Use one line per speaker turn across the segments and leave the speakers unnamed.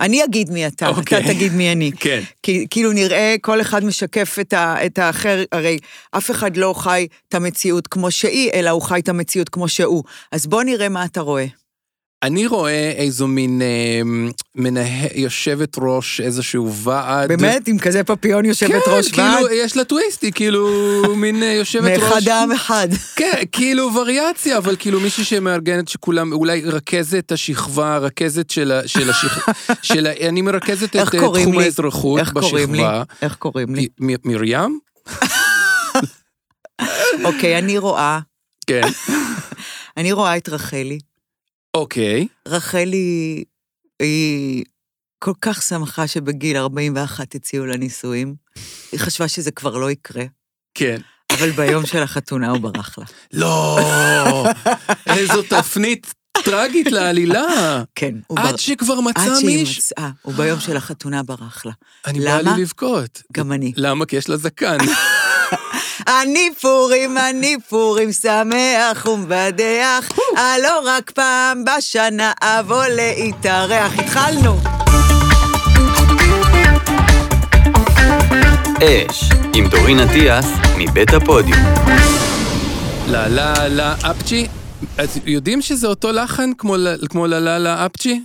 אני אגיד מי אתה,
אוקיי.
אתה תגיד מי אני.
כן.
כי כאילו נראה, כל אחד משקף את, ה, את האחר, הרי אף אחד לא חי את המציאות כמו שהיא, אלא הוא חי את המציאות כמו שהוא. אז בוא נראה מה אתה רואה.
אני רואה איזו מין אה, מנה- יושבת ראש איזשהו ועד.
באמת, עם כזה פפיון יושבת ראש
כן,
ועד?
כאילו, יש לה טוויסט, היא כאילו מין אה, יושבת ראש.
מאחד העם אחד.
כן, כאילו וריאציה, אבל כאילו מישהי שמארגנת שכולם, אולי רכזת השכבה, רכזת של ה... של השכבה, של ה... אני מרכזת את
איך
אה,
קוראים
תחום
לי?
האזרחות
איך קוראים לי?
בשכבה.
איך קוראים לי?
מ- מ- מרים?
אוקיי, אני רואה,
כן.
אני רואה את רחלי.
אוקיי.
רחלי, היא כל כך שמחה שבגיל 41 הציעו לה נישואים. היא חשבה שזה כבר לא יקרה,
כן.
אבל ביום של החתונה הוא ברח לה.
לא! איזו תפנית טרגית לעלילה.
כן, הוא
עד שכבר
עד
מצא
שהיא
מישהו.
מצאה, הוא ביום של החתונה ברח לה.
אני בא
למה?
לי לבכות.
גם אני.
למה? כי יש לה זקן.
אני פורים, אני פורים, שמח ומבדח. הלא רק פעם בשנה אבוא להתארח. התחלנו.
אש, עם דורין אטיאס, מבית הפודיום.
לה לה לה אפצ'י. אז יודעים שזה אותו לחן כמו לה- כמו לה לה לה אפצ'י?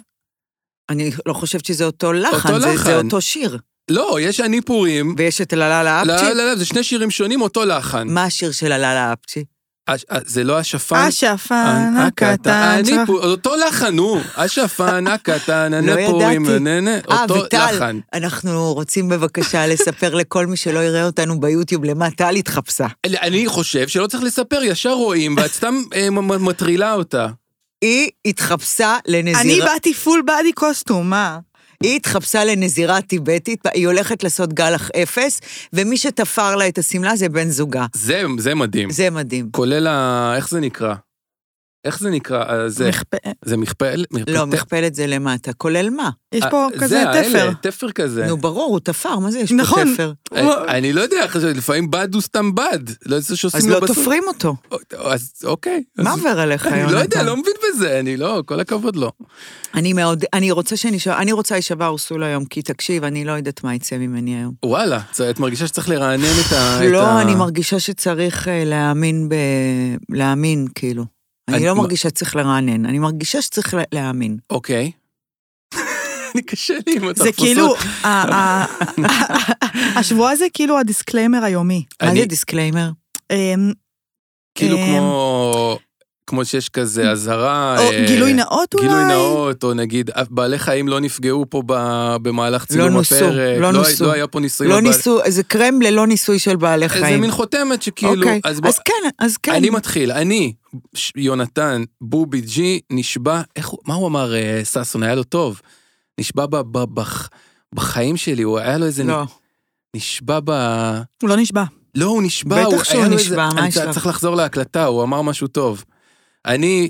אני לא חושבת שזה אותו לחן,
אותו
זה, זה
לחן.
אותו שיר.
לא, יש אני פורים.
ויש את הללה לאפצ'י.
לא, לא, לא, זה שני שירים שונים, אותו לחן.
מה השיר של הללה לאפצ'י?
הש- אה, זה לא השפן?
השפן
אה, אני פור... אותו לחן, נו. השפן הקטן, אני
לא ידעתי.
פורים, נה, נה,
אה,
אותו
וטל,
לחן.
אנחנו רוצים בבקשה לספר לכל מי שלא יראה אותנו ביוטיוב למה טל התחפשה.
אני חושב שלא צריך לספר, ישר רואים, ואת סתם אה, מ- מ- מטרילה אותה.
היא התחפשה
אני
לנזירה.
באתי פול באדי קוסטום, מה?
היא התחפשה לנזירה טיבטית, היא הולכת לעשות גלח אפס, ומי שתפר לה את השמלה זה בן זוגה.
זה, זה מדהים.
זה מדהים.
כולל ה... איך זה נקרא? איך זה נקרא? אה, זה,
מחפ-
זה מכפל?
לא,
מכפל-
מכפלת זה למטה, כולל מה?
יש פה
אה,
כזה
זה
תפר.
האלה, תפר כזה.
נו, ברור, הוא תפר, מה זה יש פה
נכון.
תפר?
אה, אני לא יודע, חשבתי, לפעמים בד הוא סתם בד. לא יודע שעושים
אז
לו
לא
בסוף.
תופרים אותו.
אז אוקיי.
מה
אז-
עובר עליך, יונתן?
אני לא יודע, לא מבין בזה, אני לא, כל הכבוד לא.
אני מאוד, אני רוצה שנשאר, אני רוצה להישבע אורסול היום, כי תקשיב, אני לא יודעת מה יצא ממני היום.
וואלה, צ- את מרגישה שצריך לרענן את ה... את
לא,
ה-
אני מרגישה שצריך אה, להאמין ב... להאמין, כאילו.
אני-
אני לא
מה-
מרגישה שצריך לרענן, אני מרגישה שצריך לה- להאמין.
אוקיי. אני קשה לי עם
זה
התחפושות.
כאילו, ה- ה- השבוע זה כאילו הדיסקליימר היומי.
מה
אני-
זה דיסקליימר?
אמ,
כאילו
אמ,
כמו... כמו שיש כזה אזהרה.
או
אה,
גילוי נאות אולי?
גילוי נאות, או נגיד, אף- בעלי חיים לא נפגעו פה ב- במהלך צילום
נוסו,
הפרק.
לא
הי-
נוסו.
לא היה פה ניסוי.
לא
על בעל-
ניסוי, זה קרם ללא ניסוי של בעלי
זה
חיים.
מין חותמת שכאילו...
אוקיי,
אז בוא-
אז כן, אז כן.
אני מתחיל, אני, ש- יונתן, בובי ג'י, נשבע, איך הוא, מה הוא אמר, אה, ששון, היה לו טוב? נשבע ב, ב, בח- בחיים שלי, הוא היה לו איזה,
לא,
נשבע ב...
הוא לא נשבע.
לא, הוא נשבע,
בטח
הוא,
שהוא
היה לו
נשבע,
איזה,
מה
אני
יש לו?
צריך לחזור להקלטה, הוא אמר משהו טוב. אני,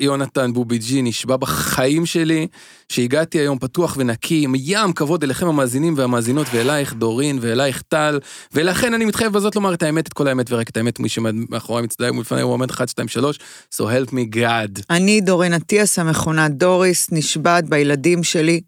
יונתן בובי ג'י, נשבע בחיים שלי, שהגעתי היום פתוח ונקי, עם ים כבוד אליכם המאזינים והמאזינות, ואלייך דורין, ואלייך טל, ולכן אני מתחייב בזאת לומר את האמת, את כל האמת ורק את האמת, מי שמאחורי מצדדים ולפני הוא עומד 1, 2, 3, so help me God.
אני דורין אטיאס המכונה דוריס, נשבעת בילדים שלי,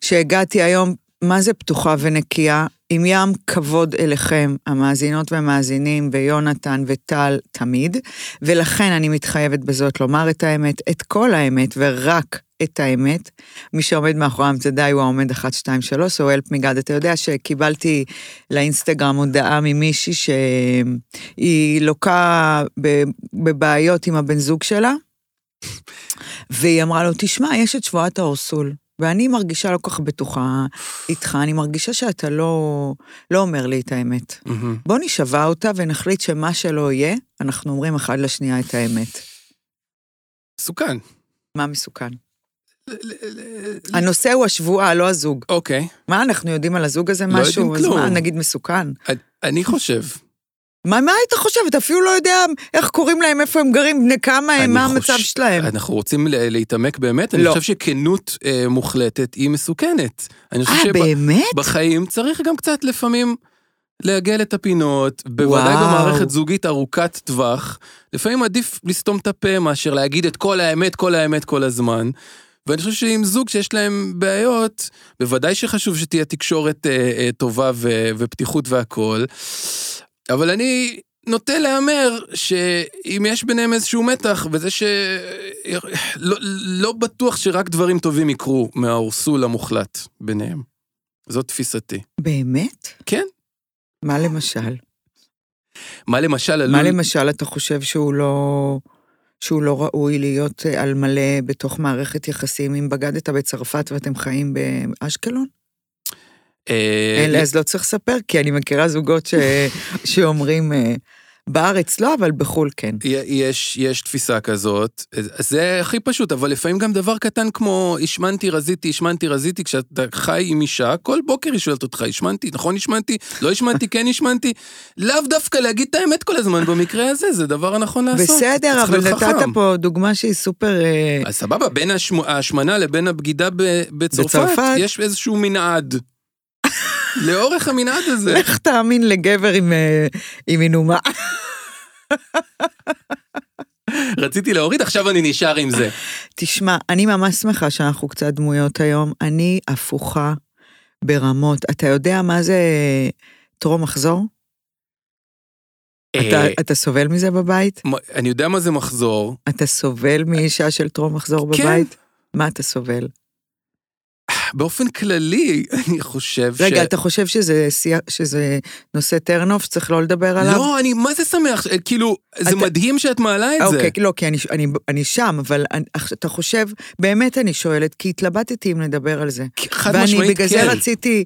שהגעתי היום, מה זה פתוחה ונקייה, עם ים כבוד אליכם, המאזינות והמאזינים, ויונתן וטל תמיד, ולכן אני מתחייבת בזאת לומר את האמת, את כל האמת ורק את האמת. מי שעומד מאחורי המצדדי הוא העומד 1, 2, 3, או אלפ מגד. אתה יודע שקיבלתי לאינסטגרם הודעה ממישהי שהיא לוקה ב- בבעיות עם הבן זוג שלה, והיא אמרה לו, תשמע, יש את שבועת האורסול, ואני מרגישה לא כל כך בטוחה איתך, אני מרגישה שאתה לא, לא אומר לי את האמת.
מהמם.
בוא נשבע אותה ונחליט שמה שלא יהיה, אנחנו אומרים אחד לשנייה את האמת.
מסוכן.
מה מסוכן?
ל- ל- ל-
הנושא הוא השבועה, לא הזוג.
אוקיי,
מה, אנחנו יודעים על הזוג הזה
לא
משהו?
יודעים
אז
כלום.
מה, נגיד מסוכן?
אני- אני חושב,
מה, מה היית חושב? אתה אפילו לא יודע איך קוראים להם, איפה הם גרים, בני כמה
אני
הם, מה
חוש-
המצב שלהם.
אנחנו רוצים ל- להתעמק באמת, אני
לא.
חושב שכנות אה, מוחלטת היא מסוכנת. אני חושב
אה,
שב-
באמת?
בחיים צריך גם קצת לפעמים לעגל את הפינות, בוודאי
וואו.
במערכת זוגית ארוכת טווח. לפעמים עדיף לסתום את הפה מאשר להגיד את כל האמת, כל האמת כל הזמן. ואני חושב שעם זוג שיש להם בעיות, בוודאי שחשוב שתהיה תקשורת אה, אה, טובה ו, ופתיחות והכול. אבל אני נוטה להמר שאם יש ביניהם איזשהו מתח, וזה ש... לא, לא בטוח שרק דברים טובים יקרו מהאורסול המוחלט ביניהם. זאת תפיסתי.
באמת?
כן.
מה למשל?
מה למשל עלול...
מה למשל אתה חושב שהוא לא... שהוא לא ראוי להיות אה, על מלא בתוך מערכת יחסים אם בגדת בצרפת ואתם חיים באשקלון?
אה,
אין לי, אז לא צריך לספר, כי אני מכירה זוגות ש... שאומרים, אה, בארץ לא, אבל בחו"ל כן.
י- יש, יש תפיסה כזאת, זה הכי פשוט, אבל לפעמים גם דבר קטן כמו השמנתי, רזיתי, השמנתי, רזיתי, כשאתה חי עם אישה, כל בוקר היא שואלת אותך, השמנתי, נכון השמנתי, לא השמנתי, כן השמנתי, לאו דווקא להגיד את האמת כל הזמן במקרה הזה, זה דבר הנכון לעשות.
בסדר,
צריך
אבל
להיות
נתת
חכם.
פה דוגמה שהיא סופר... אה,
אז סבבה, בין השמ- ההשמנה לבין הבגידה ב- בצרפת,
בצרפת.
יש איזשהו מנעד. לאורך המנעד הזה.
לך תאמין לגבר עם, אה, עם מינומה.
רציתי להוריד, עכשיו אני נשאר עם זה.
תשמע, אני ממש שמחה שאנחנו קצת דמויות היום. אני הפוכה ברמות. אתה יודע מה זה אה, טרום מחזור?
אה,
אתה, אתה סובל מזה בבית?
מ- אני יודע מה זה מחזור,
אתה סובל מאישה של טרום מחזור
כן.
בבית? מה אתה סובל?
באופן כללי, אני חושב ש...
רגע, אתה חושב שזה, שיח- שזה נושא טרנוף שצריך לא לדבר עליו?
לא, אני מה זה שמח, אה, כאילו, זה
אתה-
מדהים שאת מעלה את זה.
אוקיי, לא, כי אני, אני, אני שם, אבל אני, אך- אתה חושב, באמת אני שואלת, כי התלבטתי אם נדבר על זה.
כי- חד
ואני
משמעית,
בגלל
כן.
זה רציתי...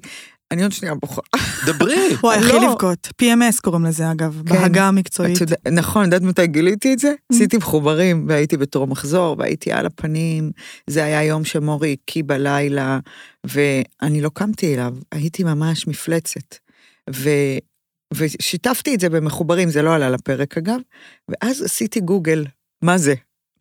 אני עוד שנייה בוכה.
דברי.
וואי, הכי
לא.
לבכות. PMS קוראים לזה, אגב,
כן.
בהגה
את
המקצועית.
יודעת- נכון, יודעת מתי גיליתי את זה? עשיתי מחוברים, והייתי בתור מחזור, והייתי על הפנים. זה היה יום שמורי הקיא בלילה, ואני לא קמתי אליו, הייתי ממש מפלצת. ו... ושיתפתי את זה במחוברים, זה לא עלה לפרק אגב, ואז עשיתי גוגל, מה זה?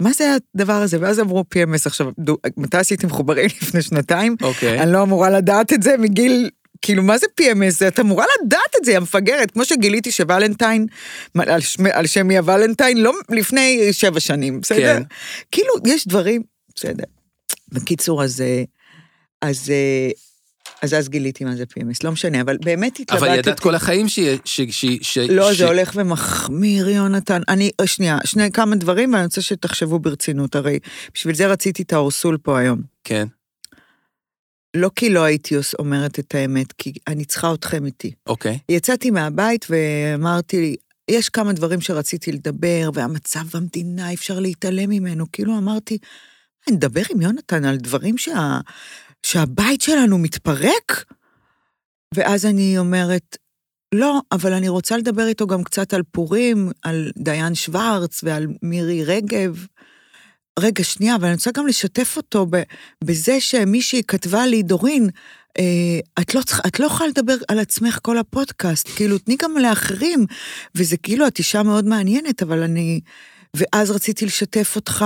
מה זה הדבר הזה? ואז אמרו PMS עכשיו, דו, מתי עשיתי מחוברים? לפני שנתיים?
אוקיי.
אני לא אמורה לדעת את זה מגיל, כאילו, מה זה PMS? זה- את אמורה לדעת את זה, יא מפגרת. כמו שגיליתי שוולנטיין, מה, על, שמ, על שמי הוולנטיין, לא לפני שבע שנים, בסדר? כן.
כן.
כאילו, יש דברים, בסדר. בקיצור, אז... אה, אז... אה, אז אז גיליתי מה זה PMS, לא משנה, אבל באמת התלבטתי.
אבל ידעת כל החיים ש... ש... ש... ש...
לא,
ש-
זה הולך ומחמיר, יונתן. אני, אה, שנייה, שני כמה דברים, ואני רוצה שתחשבו ברצינות, הרי בשביל זה רציתי את האורסול פה היום.
כן.
לא כי לא הייתי עוש- אומרת את האמת, כי אני צריכה אתכם איתי.
אוקיי.
יצאתי מהבית ואמרתי, יש כמה דברים שרציתי לדבר, והמצב במדינה, אי אפשר להתעלם ממנו. כאילו אמרתי, אני אדבר עם יונתן על דברים שה... שהבית שלנו מתפרק? ואז אני אומרת, לא, אבל אני רוצה לדבר איתו גם קצת על פורים, על דיין שוורץ ועל מירי רגב. רגע, שנייה, אבל אני רוצה גם לשתף אותו ב- בזה שמישהי כתבה לי, דורין, אה, את לא, צריכה- את לא יכולה לדבר על עצמך כל הפודקאסט, כאילו, תני גם לאחרים. וזה כאילו, את אישה מאוד מעניינת, אבל אני... ואז רציתי לשתף אותך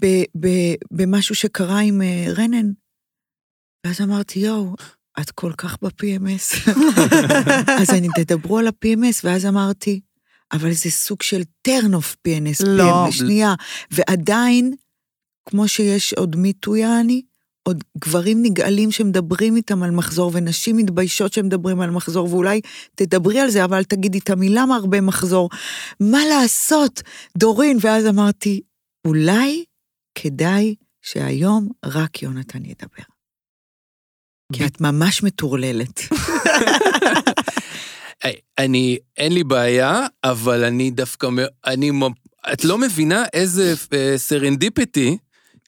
ב- ב- במשהו שקרה עם אה, רנן. ואז אמרתי, יואו, את כל כך ב-PMS. אז אני, תדברו על ה-PMS, ואז אמרתי, אבל זה סוג של turn-off PNS,
לא.
PMS, שנייה. ועדיין, כמו שיש עוד מיטו יעני, עוד גברים נגעלים שמדברים איתם על מחזור, ונשים מתביישות שמדברים על מחזור, ואולי תדברי על זה, אבל אל תגידי את המילה מרבה מחזור. מה לעשות, דורין? ואז אמרתי, אולי כדאי שהיום רק יונתן ידבר. כי את ממש מטורללת.
אה, אני, אין לי בעיה, אבל אני דווקא, מ- אני, מ- את לא מבינה איזה אה, סרנדיפיטי,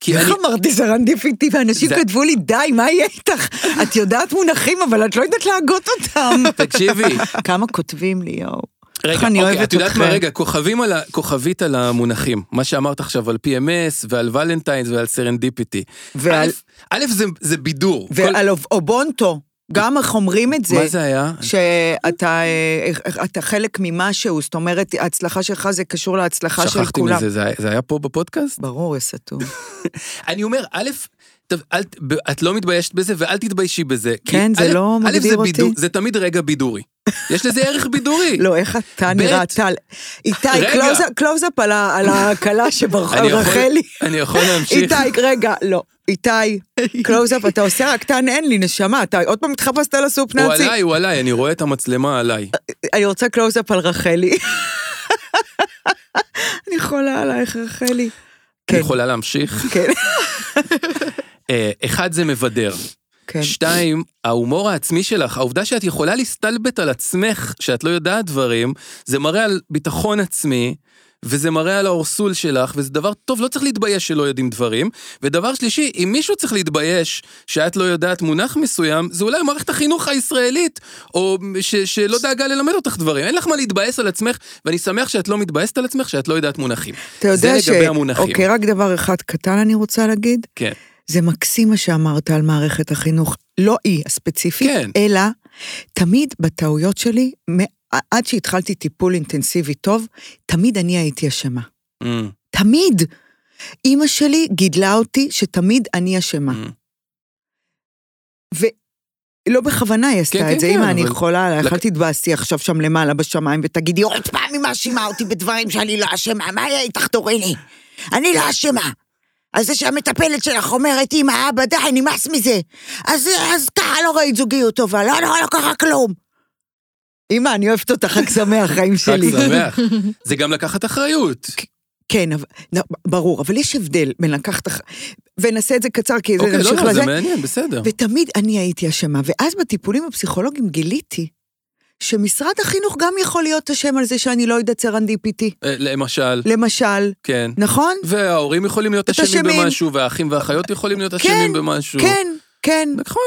כי
איך
אני,
אמרתי סרנדיפיטי, ואנשים
זה-
כתבו לי, די, מה יהיה איתך? את יודעת מונחים, אבל את לא יודעת להגות אותם.
תקשיבי,
כמה כותבים לי, יואו. איך
רגע,
אני
אוקיי,
אוהבת
את יודעת
אתכם.
מה, רגע, כוכבים על ה, כוכבית על המונחים, מה שאמרת עכשיו על PMS ועל ולנטיינס ועל סרנדיפיטי.
ועל-
א', א', זה, זה בידור. כל-
ועל אוב- אובונטו, גם איך אומרים את זה.
מה זה היה?
שאתה אה, אה, אתה חלק ממשהו, זאת אומרת, ההצלחה שלך זה קשור להצלחה של
שכחתי
כולם.
מזה, זה היה- זה היה פה בפודקאסט?
ברור, יש סתום.
אני אומר, א', טוב, אל ת- ב- את לא מתביישת בזה ואל תתביישי בזה. כי
כן, זה
א',
לא
א', זה
מגדיר אותי.
בידור- זה תמיד רגע בידורי. יש לזה ערך בידורי.
לא, איך אתה נראה, טל? איתי,
רגע.
קלוז- קלוז-אפ על ה- על הכלה שברחה
אני
על
יכול-
רחלי.
אני יכול להמשיך.
איתי, רגע, לא. איתי, קלוז-אפ, אתה עושה רק טען אין לי, נשמה, אתה עוד פעם התחפשת לסופ
הוא
נאצי.
עליי, הוא עליי, אני רואה את המצלמה עליי.
אני רוצה קלוז-אפ על רחלי. אני חולה עלייך, רחלי.
אני
כן,
יכולה להמשיך?
כן,
אה, אחד, זה מבדר.
כן.
שתיים, ההומור העצמי שלך, העובדה שאת יכולה להסתלבט על עצמך, שאת לא יודעת דברים, זה מראה על ביטחון עצמי, וזה מראה על האורסול שלך, וזה דבר טוב, לא צריך להתבייש שלא יודעים דברים. ודבר שלישי, אם מישהו צריך להתבייש שאת לא יודעת מונח מסוים, זה אולי מערכת החינוך הישראלית, או ש- שלא דאגה ללמד אותך דברים. אין לך מה להתבייס על עצמך, ואני שמח שאת לא מתבייסת על עצמך, שאת לא יודעת מונחים.
אתה יודע ש...
זה לגבי המונחים.
אוקיי, רק דבר אחד קטן אני רוצה להגיד.
כן.
זה מקסים מה שאמרת על מערכת החינוך, לא היא הספציפית,
כן.
אלא תמיד בטעויות שלי, מ- עד שהתחלתי טיפול אינטנסיבי טוב, תמיד אני הייתי אשמה.
Mm,
תמיד. אימא שלי גידלה אותי שתמיד אני אשמה.
mm.
לא בכוונה היא
כן,
עשתה
כן,
את זה,
כן,
אמא, אני
אבל-
יכולה עלייך,
לק-
אל תתבאסי עכשיו שם למעלה בשמיים ותגידי, עוד פעם היא מאשימה אותי בדברים שאני לא אשמה, מה היה איתך תוריני? אני לא אשמה. אז זה שהמטפלת שלך אומרת, אמא, אבא, די, נמאס מזה. אז, אז ככה לא ראית זוגיות טובה, לא, לא, לא קרה כלום. אמא, אני אוהבת אותך, חג שמח, חיים
רק
שלי.
שמח. זה גם לקחת אחריות.
כן, אבל- נ- ברור, אבל יש הבדל בין לקחת... אח- ונעשה את זה קצר, כי זה
אוקיי, לא,
נמשיך
לא,
לזה.
זה מעניין, בסדר.
ותמיד אני הייתי אשמה, ואז בטיפולים הפסיכולוגיים גיליתי שמשרד החינוך גם יכול להיות אשם על זה שאני לא יודעת סרן DPT,
אה, למשל,
למשל,
כן.
נכון?
וההורים יכולים להיות
את
אשמים
אשמים.
במשהו, והאחים והאחיות יכולים להיות אשמים במשהו.
כן, כן,
נכון,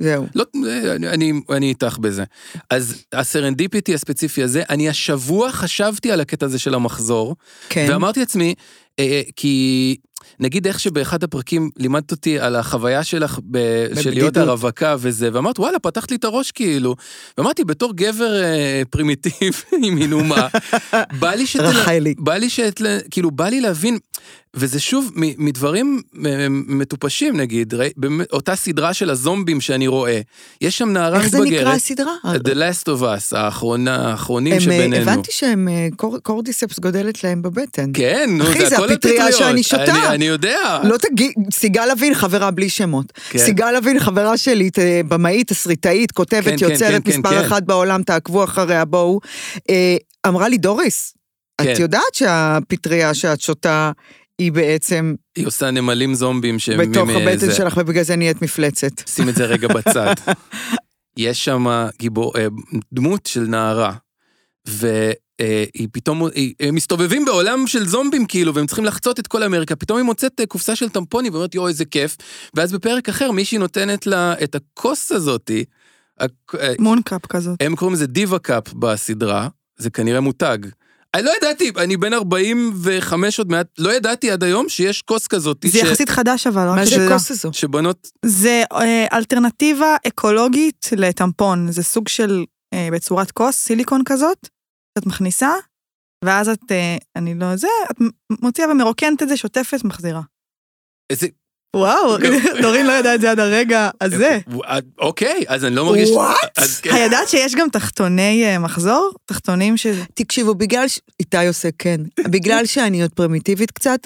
זהו.
לא, אה, אני- אני, אני איתך בזה. אז הסרנדיפיטי הספציפי הזה, אני השבוע חשבתי על הקטע הזה של המחזור,
כן,
ואמרתי לעצמי, אה, אה, כי נגיד איך שבאחד הפרקים לימדת אותי על החוויה שלך ב, של להיות
בבדידות.
הרווקה וזה, ואמרת, וואלה, פתחת לי את הראש כאילו. ואמרתי, בתור גבר אה, פרימיטיב עם מנומה, בא לי שתל...
רחלי.
בא לי שתל... כאילו, בא לי להבין, וזה שוב מ- מדברים אה, מטופשים נגיד, ראי- באמת, אותה סדרה של הזומבים שאני רואה, יש שם נערה
איך זה
מתבגרת.
נקרא הסדרה?
The Last of Us, האחרונה, האחרונים
הם, אה,
שבינינו.
הבנתי שהם, אה, קור- קורדיספס גודלת להם בבטן.
כן, נו,
אחי,
זה
זה
הכל
הפטריה
הפטריות.
שאני שותה.
אני, אני יודע.
לא תגיד, סיגל לוין, חברה בלי שמות.
כן.
סיגל לוין, חברה שלי, ת- במאית, תסריטאית,
כן,
כותבת,
כן,
יוצרת,
כן, כן,
מספר
כן.
אחת בעולם, תעקבו אחריה, בואו. אה, אמרה לי, דוריס,
כן.
את יודעת שהפטריה שאת שותה היא בעצם
היא עושה נמלים זומבים שהם...
בתוך
עם, אה,
הבטן
זה.
שלך ובגלל זה נהיית מפלצת.
שים את זה רגע בצד. יש שם גיבור, אה, דמות של נערה, והיא פתאום, היא, הם מסתובבים בעולם של זומבים כאילו, והם צריכים לחצות את כל אמריקה, פתאום היא מוצאת אה, קופסה של טמפונים ואומרת, יואו, איזה כיף, ואז בפרק אחר מישהי נותנת לה את הכוס הזאתי, הכ- אה,
מונקאפ כזאת.
הם קוראים לזה דיווה קאפ בסדרה, זה כנראה מותג. אני לא ידעתי, אני בן 45 עוד מעט, לא ידעתי עד היום שיש כוס כזאת,
זה יחסית חדש אבל, לא רק
מה זה
שתדע.
כוס הזו?
שבנות,
זה אה, אלטרנטיבה אקולוגית לטמפון, זה סוג של, אה, בצורת כוס, סיליקון כזאת, שאת מכניסה, ואז את, אה, אני לא זה, את מ- מוציאה ומרוקנת את זה, שוטפת, מחזירה.
איזה...
וואו,
גם-
דורין לא ידעה את זה עד הרגע הזה.
אוקיי, אז אני לא מרגיש...
What?
אז כן.
הידעת שיש גם תחתוני אה, מחזור? תחתונים ש...
תקשיבו, בגלל ש... איתי עושה כן. בגלל שאני עוד פרימיטיבית קצת,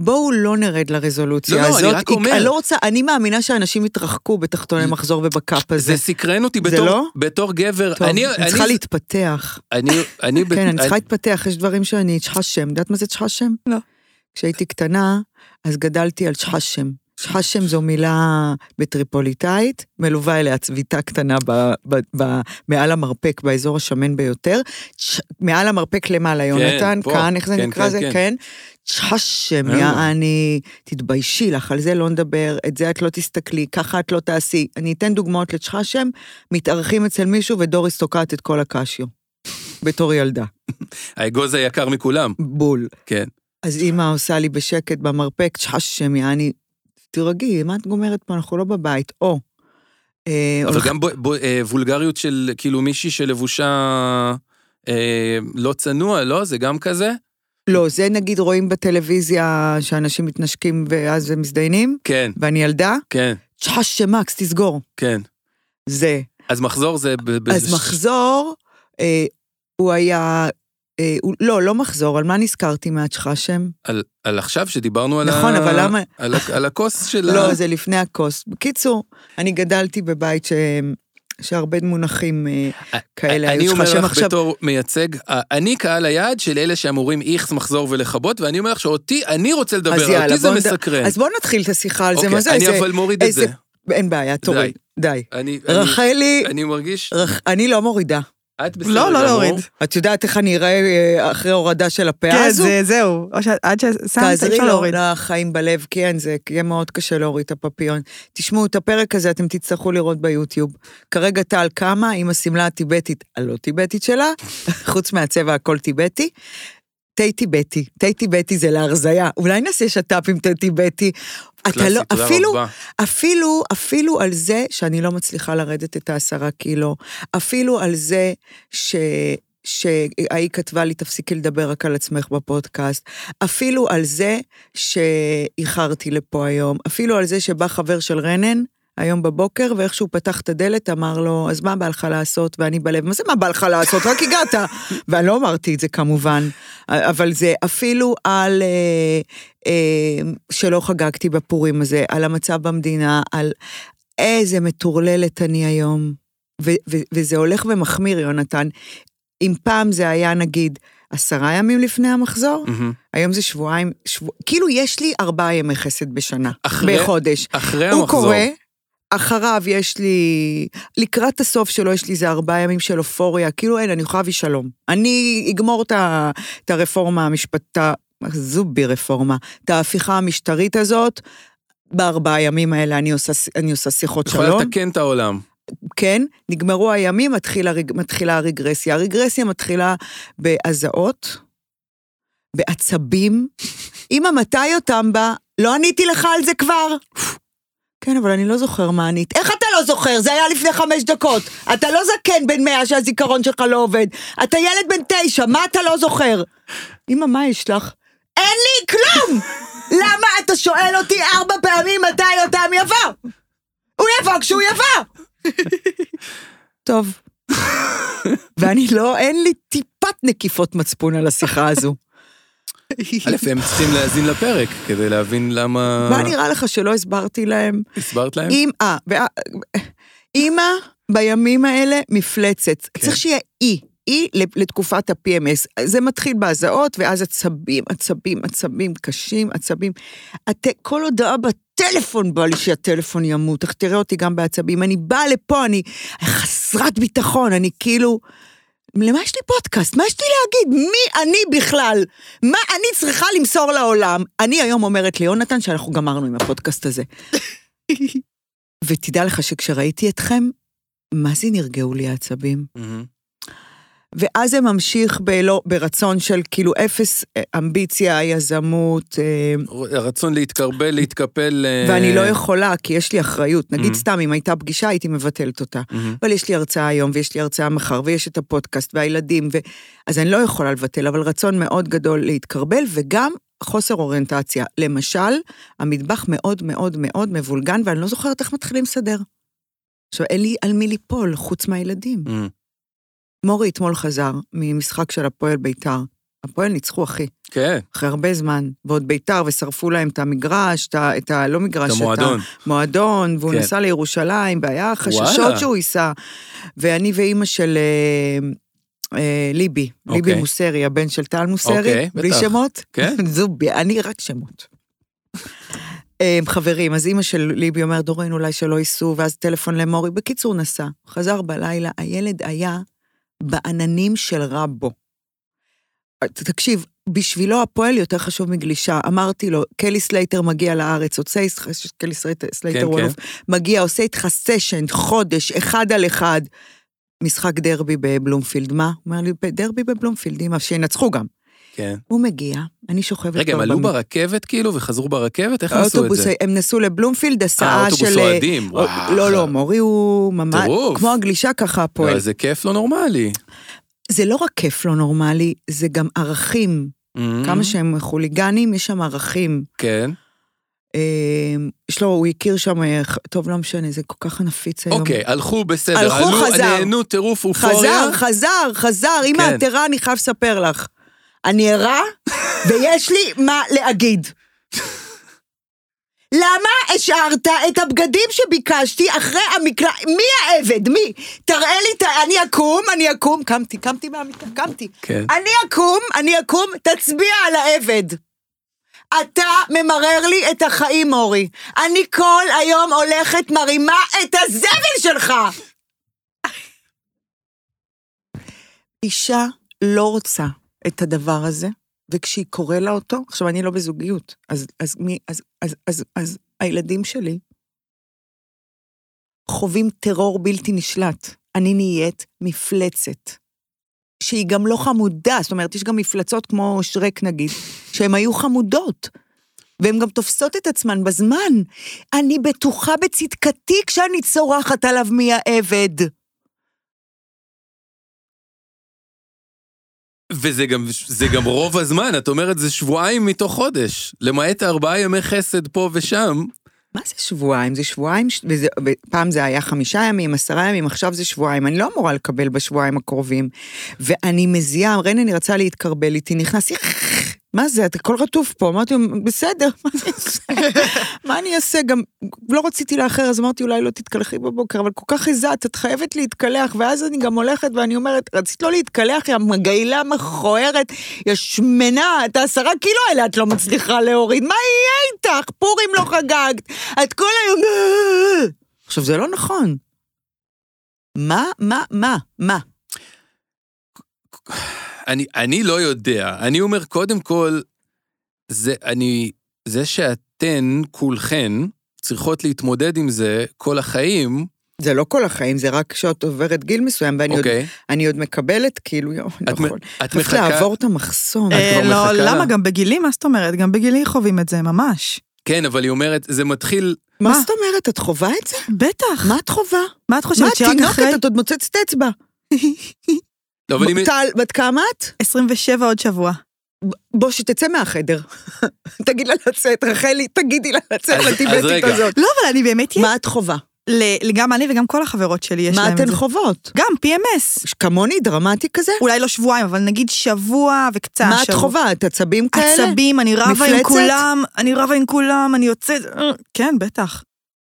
בואו לא נרד לרזולוציה
לא, לא,
הזאת.
אני רק
היא-
אומר.
אני לא רוצה, אני מאמינה שאנשים יתרחקו בתחתוני מחזור ובקאפ הזה.
זה סקרן אותי
זה
בתור,
לא?
בתור גבר.
טוב, אני,
אני,
צריכה להתפתח.
אני, אני,
כן, אני
אני-
צריכה להתפתח, יש דברים שאני, שחשם, יודעת מה זה שחשם?
לא.
כשהייתי קטנה, אז גדלתי על שחשם. שחשם זו מילה בטריפוליטאית, מלווה אליה צביטה קטנה ב, ב, ב, מעל המרפק, באזור השמן ביותר. צ'- מעל המרפק למעלה, יונתן,
כן, פה.
כאן, איך זה
כן,
נקרא
כן,
זה?
כן.
כן. שחשם,
אה.
יעני, תתביישי לך, על זה לא נדבר, את זה את לא תסתכלי, ככה את לא תעשי. אני אתן דוגמאות לשחשם, מתארחים אצל מישהו ודוריס תוקעת את כל הקשיו. בתור ילדה.
האגוז היקר מכולם.
בול.
כן.
אז אימא עושה לי בשקט במרפק, שחשם, יעני, תירגעי, מה את גומרת פה, אנחנו לא בבית, או. אה,
אבל
הולכ-
גם בו, בו, אה, וולגריות של כאילו מישהי שלבושה אה, לא צנוע, לא? זה גם כזה?
לא, זה נגיד רואים בטלוויזיה שאנשים מתנשקים ואז הם מזדיינים,
כן,
ואני ילדה,
כן,
שחשם מקס, תסגור.
כן.
זה.
אז מחזור זה... ב, ב,
אז מחזור אה, הוא היה... אה, הוא, לא, לא מחזור, על מה נזכרתי מעט שלך שם?
על, על עכשיו שדיברנו על
נכון,
ה...
אבל למה-
על, ה- על הכוס של ה...
לא, זה לפני הכוס. בקיצור, אני גדלתי בבית ש... שהרבה מונחים אה, כאלה
אני
היו שלך
אומר
שהם
לך
עכשיו...
בתור מייצג, אה, אני קהל היעד של אלה שאמורים איכס מחזור ולכבות, ואני אומר לך שאותי, אני רוצה לדבר,
אז יאללה,
אותי זה
בוא נד-
מסקרן.
אז בואו נתחיל את השיחה על זה,
כן. אוקיי,
מה זה?
אני
איזה-
אבל מוריד את
איזה-
זה.
אין בעיה, תוריד, די.
אני, אני-
רחלי,
אני מרגיש,
רח- אני לא מורידה.
את בסדר
לא, לא
גמור.
להוריד.
את יודעת איך אני אראה אה, אחרי הורדה של הפאה
כן,
הזו?
זה- זהו. או שאת- עד ששמת, אי
תעזרי
אפשר
לו
להוריד.
לחיים בלב, כן, זה יהיה מאוד קשה להוריד את הפפיון. תשמעו, את הפרק הזה אתם תצטרכו לראות ביוטיוב. כרגע טל קמה עם השמלה הטיבטית, הלא טיבטית שלה, חוץ מהצבע הכל טיבטי. תה טיבטי, תה טיבטי זה להרזייה, אולי נעשה שת"פ עם תה טיבטי. אתה
קלאסי,
לא,
תודה
אפילו,
רבה.
אפילו, אפילו על זה שאני לא מצליחה לרדת את העשרה קילו, אפילו על זה ש... שהיא כתבה לי, תפסיקי לדבר רק על עצמך בפודקאסט, אפילו על זה שאיחרתי לפה היום, אפילו על זה שבא חבר של רנן היום בבוקר, ואיך שהוא פתח את הדלת, אמר לו, אז מה בא לך לעשות? ואני בלב, מה זה מה בא לך לעשות? רק הגעת. ואני לא אמרתי את זה כמובן, אבל זה אפילו על... אה, אה, שלא חגגתי בפורים הזה, על המצב במדינה, על איזה מטורללת אני היום. ו- ו- וזה הולך ומחמיר, יונתן. אם פעם זה היה, נגיד, עשרה ימים לפני המחזור,
מהמם.
היום זה שבועיים, שבוע... כאילו יש לי ארבעה ימי חסד בשנה,
אחרי-
בחודש.
אחרי
הוא
המחזור.
קורא, אחריו יש לי, לקראת הסוף שלו יש לי איזה ארבעה ימים של אופוריה, כאילו אין, אני יכולה להביא שלום. אני אגמור את, ה, את הרפורמה המשפטית, זובי רפורמה, את ההפיכה המשטרית הזאת, בארבעה ימים האלה אני עושה, אני עושה שיחות שלום.
יכולה לתקן את העולם.
כן, נגמרו הימים, מתחיל הרג, מתחילה הרגרסיה. הרגרסיה מתחילה בהזעות, בעצבים. אמא, מתי אותם בה? לא עניתי לך על זה כבר. כן, אבל אני לא זוכר מה ענית. איך אתה לא זוכר? זה היה לפני חמש דקות. אתה לא זקן בן מאה שהזיכרון שלך לא עובד. אתה ילד בן תשע, מה אתה לא זוכר? אמא, מה יש לך? אין לי כלום! למה אתה שואל אותי ארבע פעמים מתי אותם יבוא? הוא יבוא כשהוא יבוא! טוב. ואני לא, אין לי טיפת נקיפות מצפון על השיחה הזו.
א', הם צריכים להאזין לפרק כדי להבין למה...
מה נראה לך שלא הסברתי להם?
הסברת להם?
אם, אה, ואה, אימא בימים האלה מפלצת. צריך שיהיה אי. אי לתקופת ה-PMS. זה מתחיל בהזעות, ואז עצבים, עצבים, עצבים קשים, עצבים. הת... כל הודעה בטלפון בא לי שהטלפון ימות. איך תראה אותי גם בעצבים. אני באה לפה, אני חסרת ביטחון, אני כאילו... למה יש לי פודקאסט? מה יש לי להגיד? מי אני בכלל? מה אני צריכה למסור לעולם? אני היום אומרת ליונתן שאנחנו גמרנו עם הפודקאסט הזה. ותדע לך שכשראיתי אתכם, מה זה נרגעו לי העצבים?
מהמם.
ואז זה ממשיך בלא, ברצון של כאילו אפס אה, אמביציה, יזמות, אה,
הרצון להתקרבל, להתקפל... אה,
ואני לא יכולה, כי יש לי אחריות. נגיד
Mhm.
סתם, אם הייתה פגישה, הייתי מבטלת אותה.
מהמם.
אבל יש לי הרצאה היום, ויש לי הרצאה מחר, ויש את הפודקאסט, והילדים, ו... אז אני לא יכולה לבטל, אבל רצון מאוד גדול להתקרבל, וגם חוסר אוריינטציה. למשל, המטבח מאוד מאוד מאוד מבולגן, ואני לא זוכרת איך מתחילים לסדר. עכשיו, אין לי על מי ליפול, חוץ מהילדים.
מהמם.
מורי אתמול חזר ממשחק של הפועל בית"ר. הפועל ניצחו, אחי,
כן,
אחרי הרבה זמן. ועוד בית"ר, ושרפו להם את המגרש, את ה... את ה לא
את
מגרש,
המועדון.
מועדון, והוא
כן.
נסע לירושלים, והיה
וואלה.
חששות שהוא ייסע. ואני ואימא של אה, אה, ליבי, ליבי
אוקיי.
מוסרי, הבן של טל מוסרי,
אוקיי,
בלי
בטח.
שמות.
כן.
זובי, אני רק שמות. אה, חברים, אז אימא של ליבי אומרת, דורין, אולי שלא ייסעו, ואז טלפון למורי. בקיצור, נסע. חזר בלילה, הילד היה בעננים של רבו. אה, ת- תקשיב, בשבילו הפועל יותר חשוב מגלישה. אמרתי לו, קלי סלייטר מגיע לארץ, עושה איתך, קלי סלייטר, סלייטר
כן.
הוא אלוף, מגיע, עושה איתך סשן, חודש, אחד על אחד. משחק דרבי בבלומפילד, מה? הוא אומר לי, דרבי בבלומפילד, אמא, שינצחו גם.
כן.
הוא מגיע, אני שוכבת
רגע, הם
כבר
עלו
במיטה.
ברכבת כאילו וחזרו ברכבת? איך הם עשו את
האוטובוס,
זה?
הם נסעו לבלומפילד,
אה,
הסעה של...
אוטובוס אוהדים,
אה,
וואו.
לא, לא, מורי הוא ממש...
טירוף.
כמו הגלישה ככה הפועל.
לא, זה כיף לא נורמלי.
זה לא רק כיף לא נורמלי, זה גם ערכים.
מהמם.
כמה שהם חוליגנים, יש שם ערכים.
Mm, כן.
אה, יש לו, הוא הכיר שם, אה, ח- טוב, לא משנה, זה כל כך נפיץ היום.
אוקיי, הלכו בסדר.
הלכו,
עלו,
חזר.
נהנו טירוף אופוריה.
חזר, חזר, חזר. אמא,
כן.
את ערה, אני חייב לספר לך. אני ערה, ויש לי מה להגיד. למה השארת את הבגדים שביקשתי אחרי המקלע? מי העבד? מי? תראה לי, ת... אני אקום, אני אקום. קמתי, קמתי מהמיטה, קמתי.
כן.
אני אקום, אני אקום, תצביע על העבד. אתה ממרר לי את החיים, אורי. אני כל היום הולכת מרימה את הזבל שלך! אישה לא רוצה את הדבר הזה, וכשהיא קורא לה אותו, עכשיו, אני לא בזוגיות, אז, אז, מי, אז, אז, אז, אז הילדים שלי חווים טרור בלתי נשלט. אני נהיית מפלצת. שהיא גם לא חמודה, זאת אומרת, יש גם מפלצות כמו שרק נגיד, שהן היו חמודות. והן גם תופסות את עצמן בזמן. אני בטוחה בצדקתי כשאני צורחת עליו מי העבד.
וזה גם, זה גם רוב הזמן, את אומרת זה שבועיים מתוך חודש. למעט ארבעה ימי חסד פה ושם,
מה זה שבועיים? זה שבועיים, ש- וזה, פעם זה היה חמישה ימים, עשרה ימים, עכשיו זה שבועיים. אני לא אמורה לקבל בשבועיים הקרובים. ואני מזיעה, רנן רצה להתקרבל איתי, נכנס, "איך, מה זה, אתה הכל רטוף פה. אמרתי לו, בסדר, מה אני אעשה? מה אני אעשה? גם לא רציתי לאחר, אז אמרתי, אולי לא תתקלחי בבוקר, אבל כל כך הזעת, את חייבת להתקלח. ואז אני גם הולכת ואני אומרת, רצית לא להתקלח, יא מגעילה מכוערת, יא שמנה, את העשרה קילו האלה את לא מצליחה להוריד, מה יהיה איתך? פורים לא חגגת, את כל היום... עכשיו, זה לא נכון. מה, מה, מה, מה?
אני, אני לא יודע. אני אומר, קודם כל, זה, אני, זה שאתן, כולכן, צריכות להתמודד עם זה כל החיים,
זה לא כל החיים, זה רק כשאת עוברת גיל מסוים, ואני עוד,
אוקיי?
אני עוד מקבלת, כאילו, יואו, אני
את,
לא
מ-
יכול.
את
צריך
מחכה...
לעבור את המחסום.
את
אה,
כבר
לא,
מחכה לה?
למה? גם בגילי, מה זאת אומרת? גם בגילי חווים את זה, ממש.
כן, אבל היא אומרת, זה מתחיל...
מה
מה?
זאת אומרת, את חווה את זה?
בטח.
מה את חווה?
מה את
מה,
חושבת,
את
שרק אחרי
תינוקת, את עוד מוצצת אצבע.
לא, אבל אם...
טל, בת כמה את?
27 עוד שבוע?
בוא, שתצא מהחדר. תגיד לה לצאת, רחלי, תגידי לה לצאת
אז- אז
לטיבטית
רגע.
הזאת.
לא, אבל אני באמת...
מה את חווה?
ל- גם אני וגם כל החברות שלי יש
מה
להם את
אתן
זה.
חוות?
גם PMS.
כמוני, דרמטי כזה?
אולי לא שבועיים, אבל נגיד שבוע וקצת.
מה את
שבוע.
חווה? את עצבים כאלה?
עצבים, אני רבה עם
מפלצת?
כולם, אני רבה עם כולם, אני יוצאת... אה, כן, בטח.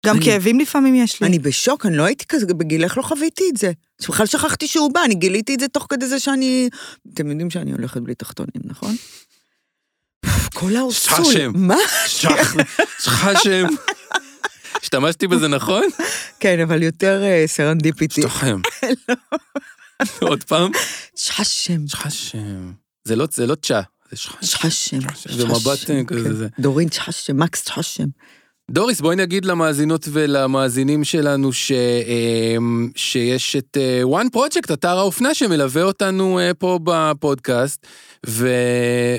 גם
אני-
כאבים לפעמים יש לי.
אני בשוק, אני לא הייתי כזה, בגילך לא חוויתי את זה. בכלל שכחתי שהוא בא, אני גיליתי את זה תוך כדי זה שאני... אתם יודעים שאני הולכת בלי תחתונים, נכון? כל האורסול.
שם.
מה?
שח... שחשם. השתמשתי בזה נכון?
כן, אבל יותר אה, סרנדיפיטי.
שחשם.
לא.
עוד פעם?
שחשם.
שחשם. זה לא, זה לא צ'ה, זה שחשם.
שחשם.
זה מבט, אה,
שחשם,
כזה,
כן.
זה.
דורין שחשם, מקס שחשם.
דוריס, בואי נגיד למאזינות ולמאזינים שלנו ש, אמ, שיש את אה, one project, אתר האופנה שמלווה אותנו אה, פה בפודקאסט, ו...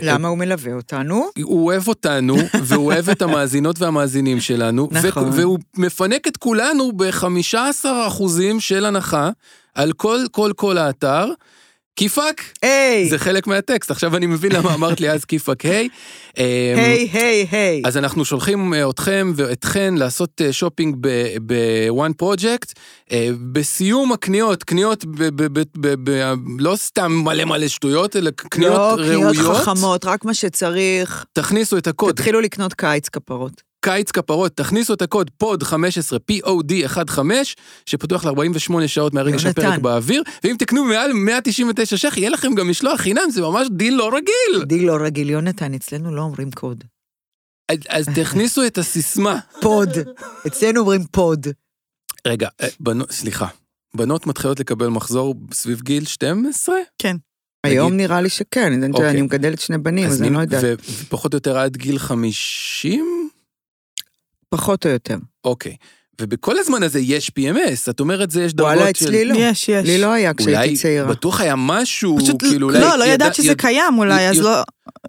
אה,
למה הוא מלווה אותנו?
הוא אוהב אותנו, והוא אוהב את המאזינות והמאזינים שלנו,
נכון.
ו- והוא מפנק את כולנו ב-15% של הנחה על כל כל כל האתר, כי פאק,
היי!
זה חלק מהטקסט, עכשיו אני מבין למה אמרת לי אז כי פאק היי. אמ,
היי, היי, היי.
אז אנחנו שולחים אה, אתכם ואתכן לעשות אה, שופינג ב-one project. אה, בסיום הקניות, קניות ב- ב- ב- ב- ב- לא סתם מלא מלא שטויות, אלא קניות
לא,
ראויות.
קניות חכמות, רק מה שצריך.
תכניסו את הקוד
תתחילו לקנות קיץ כפרות.
קיץ כפרות, תכניסו את הקוד פוד 15, POD15, שפתוח ל-48 שעות מהרגע
יונתן.
שהפרק באוויר, ואם תקנו מעל 199 ש"ח, יהיה לכם גם משלוח חינם, זה ממש דיל לא רגיל.
דיל לא רגיל, יונתן, אצלנו לא אומרים קוד.
אז, אז תכניסו את הסיסמה.
פוד. אצלנו אומרים פוד.
רגע, אה, בנות, סליחה. בנות מתחילות לקבל מחזור סביב גיל 12?
היום נראה לי שכן, אני-
אוקיי.
אני מגדלת שני בנים, אז אני
מין-
לא יודעת.
ו- ופחות או יותר עד גיל 50?
פחות או יותר.
אוקיי. ובכל הזמן הזה יש PMS, את אומרת זה יש דרגות של...
וואלה, אצלי לא.
יש, יש.
לי לא היה
אולי
כשהייתי צעירה.
בטוח היה משהו,
פשוט
כאילו אולי...
לא, לא
ידע-
ידעת שזה
יד-
קיים אולי, אז
י-
לא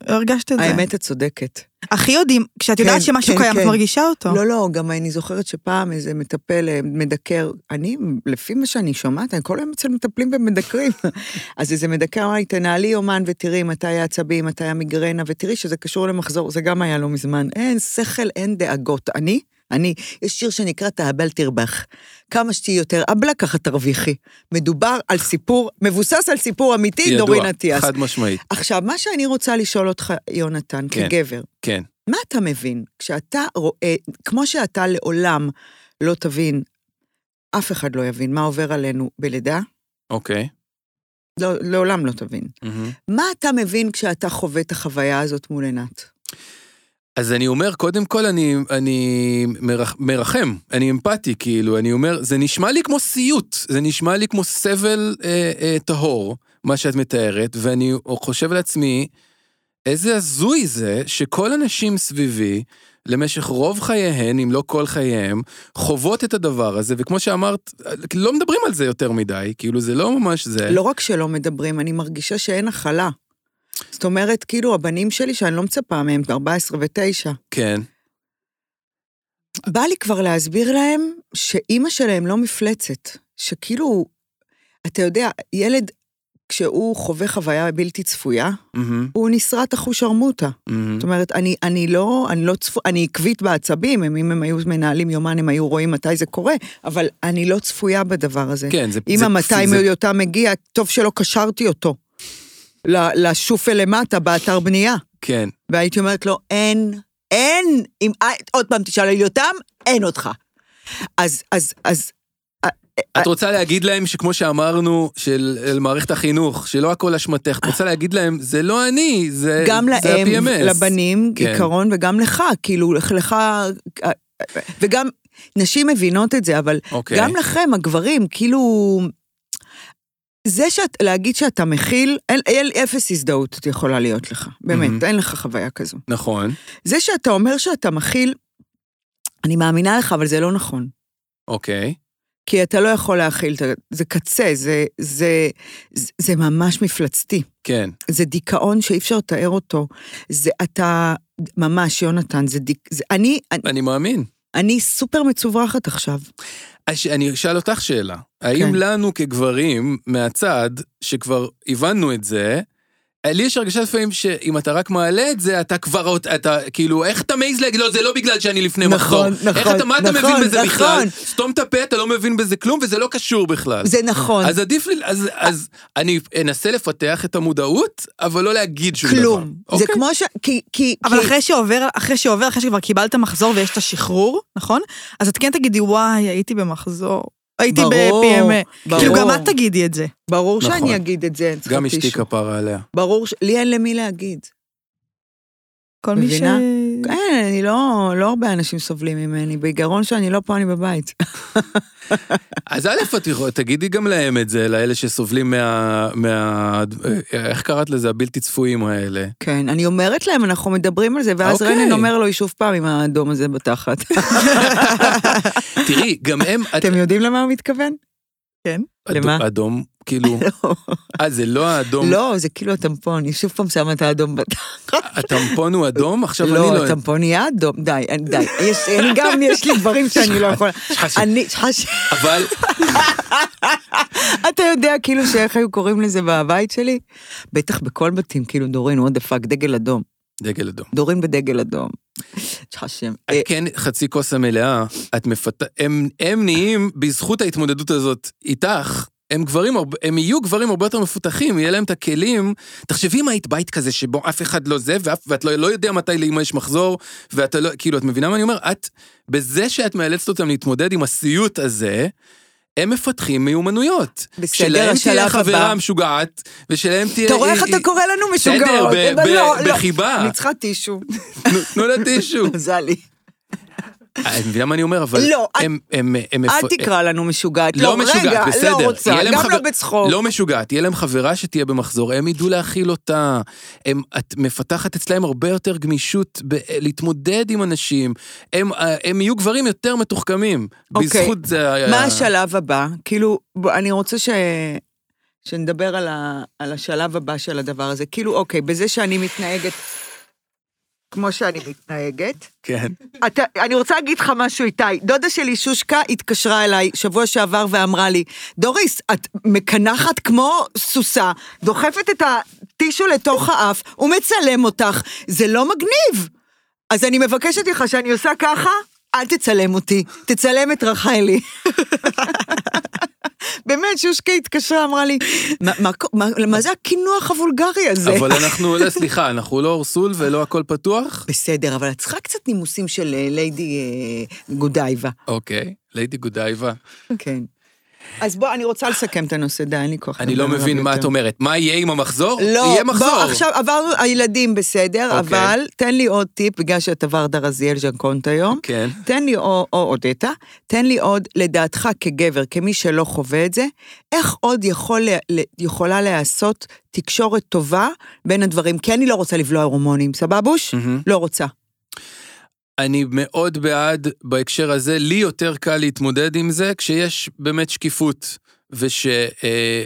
לא הרגשת את זה.
האמת, את צודקת.
הכי יודעים, כשאת יודעת
כן,
שמשהו
כן,
קיים, את
כן.
מרגישה אותו.
לא, לא, גם אני זוכרת שפעם איזה מטפל אה, מדקר, אני, לפי מה שאני שומעת, אני כל היום אצל מטפלים ומדקרים. אז איזה מדקר אמר לי, תנהלי יומן ותראי מתי העצבים, מתי המיגרנה, ותראי שזה קשור למחזור, זה גם היה לא מזמן. אין שכל, אין דאגות. אני, אני, יש שיר שנקרא תאבל תרבח. כמה שתהיי יותר אבלה, ככה תרוויחי. מדובר על סיפור, מבוסס על סיפור אמיתי,
ידוע,
דורין אטיאס.
חד משמעית,
עכשיו, מה שאני רוצה לשאול אותך, יונתן,
כן.
כגבר,
כן.
מה אתה מבין כשאתה רואה, כמו שאתה לעולם לא תבין, אף אחד לא יבין מה עובר עלינו בלידה,
אוקיי.
לא, לעולם לא תבין.
מהמם.
מה אתה מבין כשאתה חווה את החוויה הזאת מול עינת?
אז אני אומר, קודם כל אני, אני מרח, מרחם, אני אמפתי, כאילו, אני אומר, זה נשמע לי כמו סיוט, זה נשמע לי כמו סבל אה, אה, טהור, מה שאת מתארת, ואני חושב לעצמי, איזה הזוי זה שכל הנשים סביבי, למשך רוב חייהן, אם לא כל חייהם, חוות את הדבר הזה, וכמו שאמרת, לא מדברים על זה יותר מדי, כאילו, זה לא ממש זה.
לא רק שלא מדברים, אני מרגישה שאין הכלה. זאת אומרת, כאילו, הבנים שלי, שאני לא מצפה מהם, 14 ו-9,
כן.
בא לי כבר להסביר להם שאימא שלהם לא מפלצת. שכאילו, אתה יודע, ילד, כשהוא חווה חוויה בלתי צפויה,
מהמם,
הוא נסרט אחושרמוטה.
מהמם.
זאת אומרת, אני, אני לא, אני לא צפו, אני עקבית בעצבים, הם, אם הם היו מנהלים יומן, הם היו רואים מתי זה קורה, אבל אני לא צפויה בדבר הזה.
כן, זה...
אם
זה-
המתי
זה-
מאותה מגיע, טוב שלא קשרתי אותו ל- לשופל למטה באתר בנייה.
כן.
והייתי אומרת לו, אין, אין, אם אה, עוד פעם תשאל לי אותם, אין אותך. אז, אז, אז,
את רוצה להגיד להם שכמו שאמרנו, של אל מערכת החינוך, שלא הכל אשמתך, את רוצה להגיד להם, זה לא אני, זה
גם
זה
להם,
ה-PMS."
לבנים,
כן.
כן. עיקרון, וגם לך, כאילו, לך- לך, אה, וגם, נשים מבינות את זה, אבל
אוקיי.
okay. גם לכם, הגברים, כאילו... זה שאת, להגיד שאתה מכיל, אין, אין, אפס הזדהות יכולה להיות לך. באמת,
מהמם.
mm-hmm. אין לך חוויה כזו.
נכון,
זה שאתה אומר שאתה מכיל, אני מאמינה לך, אבל זה לא נכון.
אוקיי.
כי אתה לא יכול להכיל, את ה- זה קצה, זה, זה, זה, זה ממש מפלצתי.
כן,
זה דיכאון שאי אפשר לתאר אותו. זה אתה, ממש, יונתן, זה דיק... זה, אני, אני,
אני מאמין.
אני סופר מצוברחת עכשיו.
אז אני אשאל אותך שאלה. האם
כן.
לנו כגברים, מהצד, שכבר הבנו את זה, לי יש הרגשה לפעמים שאם אתה רק מעלה את זה, אתה כבר, עוד- אתה, כאילו, איך אתה מעז להגיד, לא, זה לא בגלל שאני לפני
נכון,
מחזור. איך
נכון,
אתה, מה אתה
נכון,
מבין בזה
נכון.
בכלל? סתום את הפה, אתה לא מבין בזה כלום, וזה לא קשור בכלל.
זה נכון.
אז עדיף לי, אז, אז אני אנסה לפתח את המודעות, אבל לא להגיד שום דבר.
כלום. זה
אוקיי.
כמו ש... כי... כי
אבל
כי...
אחרי שעובר, אחרי שעובר, אחרי שכבר קיבלת מחזור ויש את השחרור, נכון? אז את כן תגידי, וואי, הייתי במחזור. הייתי
ברור,
ב-PMA. כאילו,
ברור.
גם את תגידי את זה.
ברור
נכון.
שאני אגיד את זה, אין צריך
גם אשתי
טישו.
כפרה עליה.
ברור ש... לי אין למי להגיד.
כל מי ש...
מבינה?
Mm.
כן, אני לא... לא הרבה אנשים סובלים ממני. בעיקרון שאני לא פה, אני בבית.
אז א', את יכולה- תגידי גם להם את זה, לאלה שסובלים מה... מה... איך קראת לזה? הבלתי צפויים האלה.
כן, אני אומרת להם, אנחנו מדברים על זה, ואז
אוקיי.
רנן אומר לו, היא שוב פעם עם האדום הזה בתחת.
תראי, גם הם... את-
אתם יודעים למה הוא מתכוון?
אדום-
למה?
אדום, כאילו...
לא.
אה, זה לא האדום.
לא, זה כאילו הטמפון, היא שוב פעם שמה את האדום בתחת.
הטמפון הוא אדום? עכשיו אני
לא,
לא...
הטמפון יהיה אדום, די, אין- די. יש- אני גם, יש לי דברים שאני לא יכולה.
שחש-
אני, שחש...
אבל...
אתה יודע כאילו שאיך היו קוראים לזה בבית שלי? בטח בכל בתים, כאילו דורין, what the fuck, דגל אדום.
דגל אדום.
דורין בדגל אדום. יש לך שם. אה,
את כן חצי כוס המלאה, את מפת... הם, הם נהיים, בזכות ההתמודדות הזאת איתך, הם גברים, הרבה- הם יהיו גברים הרבה יותר מפותחים, יהיה להם את הכלים. תחשבי אם היית בית כזה שבו אף אחד לא זה, ואף, ואת לא, לא יודע מתי לאמא יש מחזור, ואתה לא, כאילו, את מבינה מה אני אומר? את, בזה שאת מאלצת אותם להתמודד עם הסיוט הזה, הם מפתחים מיומנויות.
בסדר,
שלהם תהיה
השלב
חברה
הבא.
משוגעת, ושלהם תהיה...
אתה רואה איך
היא-
אתה קורא לנו
אה, בסדר,
משוגעות.
ב-
אבל
ב-
לא, לא.
בחיבה.
אני צריכה טישו,
תנו- תנו לה טישו.
מזל לי.
אה, את מבינה מה אני אומר? אבל
לא, אל-
הם- הם... הם-
אל תקרא לנו משוגעת.
לא
לא,
משוגעת,
רגע,
בסדר.
לא רוצה,
יהיה להם
גם
חבר-
לא בצחוק.
לא משוגעת, תהיה להם חברה שתהיה במחזור, הם ידעו להכיל אותה. הם, את מפתחת אצלהם הרבה יותר גמישות ב- להתמודד עם אנשים. הם, אה, הם יהיו גברים יותר מתוחכמים.
אוקיי.
בזכות זה היה...
מה השלב הבא? כאילו, בוא, אני רוצה ש... שנדבר על, ה... על השלב הבא של הדבר הזה. כאילו, אוקיי, בזה שאני מתנהגת כמו שאני מתנהגת,
כן.
אתה, אני רוצה להגיד לך משהו, איתי. דודה שלי, שושקה, התקשרה אליי שבוע שעבר ואמרה לי, דוריס, את מקנחת כמו סוסה, דוחפת את הטישו לתוך האף, הוא מצלם אותך, זה לא מגניב. אז אני מבקשת ממך שאני עושה ככה, אל תצלם אותי, תצלם את רחלי. באמת, שושקה התקשרה, אמרה לי, "מה- מה- מה- מה זה הקינוח הוולגרי הזה?
אבל אנחנו, לא, סליחה, אנחנו לא אורסול ולא הכל פתוח?
בסדר, אבל את צריכה קצת נימוסים של אה, ליידי אה, גודייבה.
אוקיי, ליידי גודייבה.
כן. אז בוא, אני רוצה לסכם את הנושא, די, אין לי כוח.
אני
לדבר
לא
עליו
מבין מה
יותר.
את אומרת. מה יהיה עם המחזור?
לא,
יהיה מחזור.
בוא, עכשיו עברנו, הילדים בסדר,
אוקיי.
אבל תן לי עוד טיפ, בגלל שאתה ורדה רזיאל ז'נקונט היום.
כן.
תן לי, או או הודית, תן לי עוד, לדעתך כגבר, כמי שלא חווה את זה, איך עוד יכול, לה- ל- יכולה להיעשות תקשורת טובה בין הדברים? כי אני לא רוצה לבלוע הורמונים, סבבוש?
מהמם.
לא רוצה.
אני מאוד בעד בהקשר הזה, לי יותר קל להתמודד עם זה כשיש באמת שקיפות,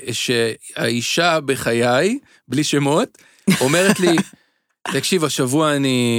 ושהאישה בחיי, בלי שמות, אומרת לי, תקשיב, השבוע אני,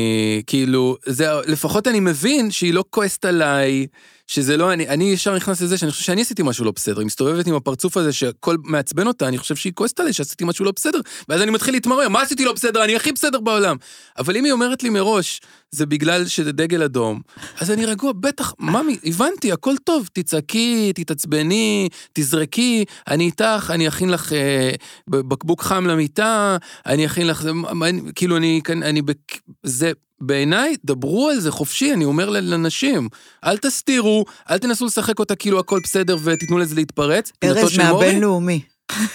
כאילו, זה, לפחות אני מבין שהיא לא כועסת עליי, שזה לא, אני, אני ישר נכנס לזה שאני חושב שאני עשיתי משהו לא בסדר, היא מסתובבת עם הפרצוף הזה שהכל מעצבן אותה, אני חושב שהיא כועסת עליי שעשיתי משהו לא בסדר, ואז אני מתחיל להתמרמר, מה עשיתי לא בסדר, אני הכי בסדר בעולם. אבל אם היא אומרת לי מראש, זה בגלל שזה דגל אדום, אז אני רגוע, בטח, ממי, הבנתי, הכל טוב, תצעקי, תתעצבני, תזרקי, אני איתך, אני אכין לך אה, בקבוק חם למיטה, אני אכין לך, זה, מה- מה- כאילו, אני, כאן- אני, בק- זה, בעיניי, דברו על זה חופשי, אני אומר ל- לנשים, אל תסתירו, אל תנסו לשחק אותה כאילו הכל בסדר ותיתנו לזה להתפרץ. פינתו
ארז
של מורי?
מהבינלאומי.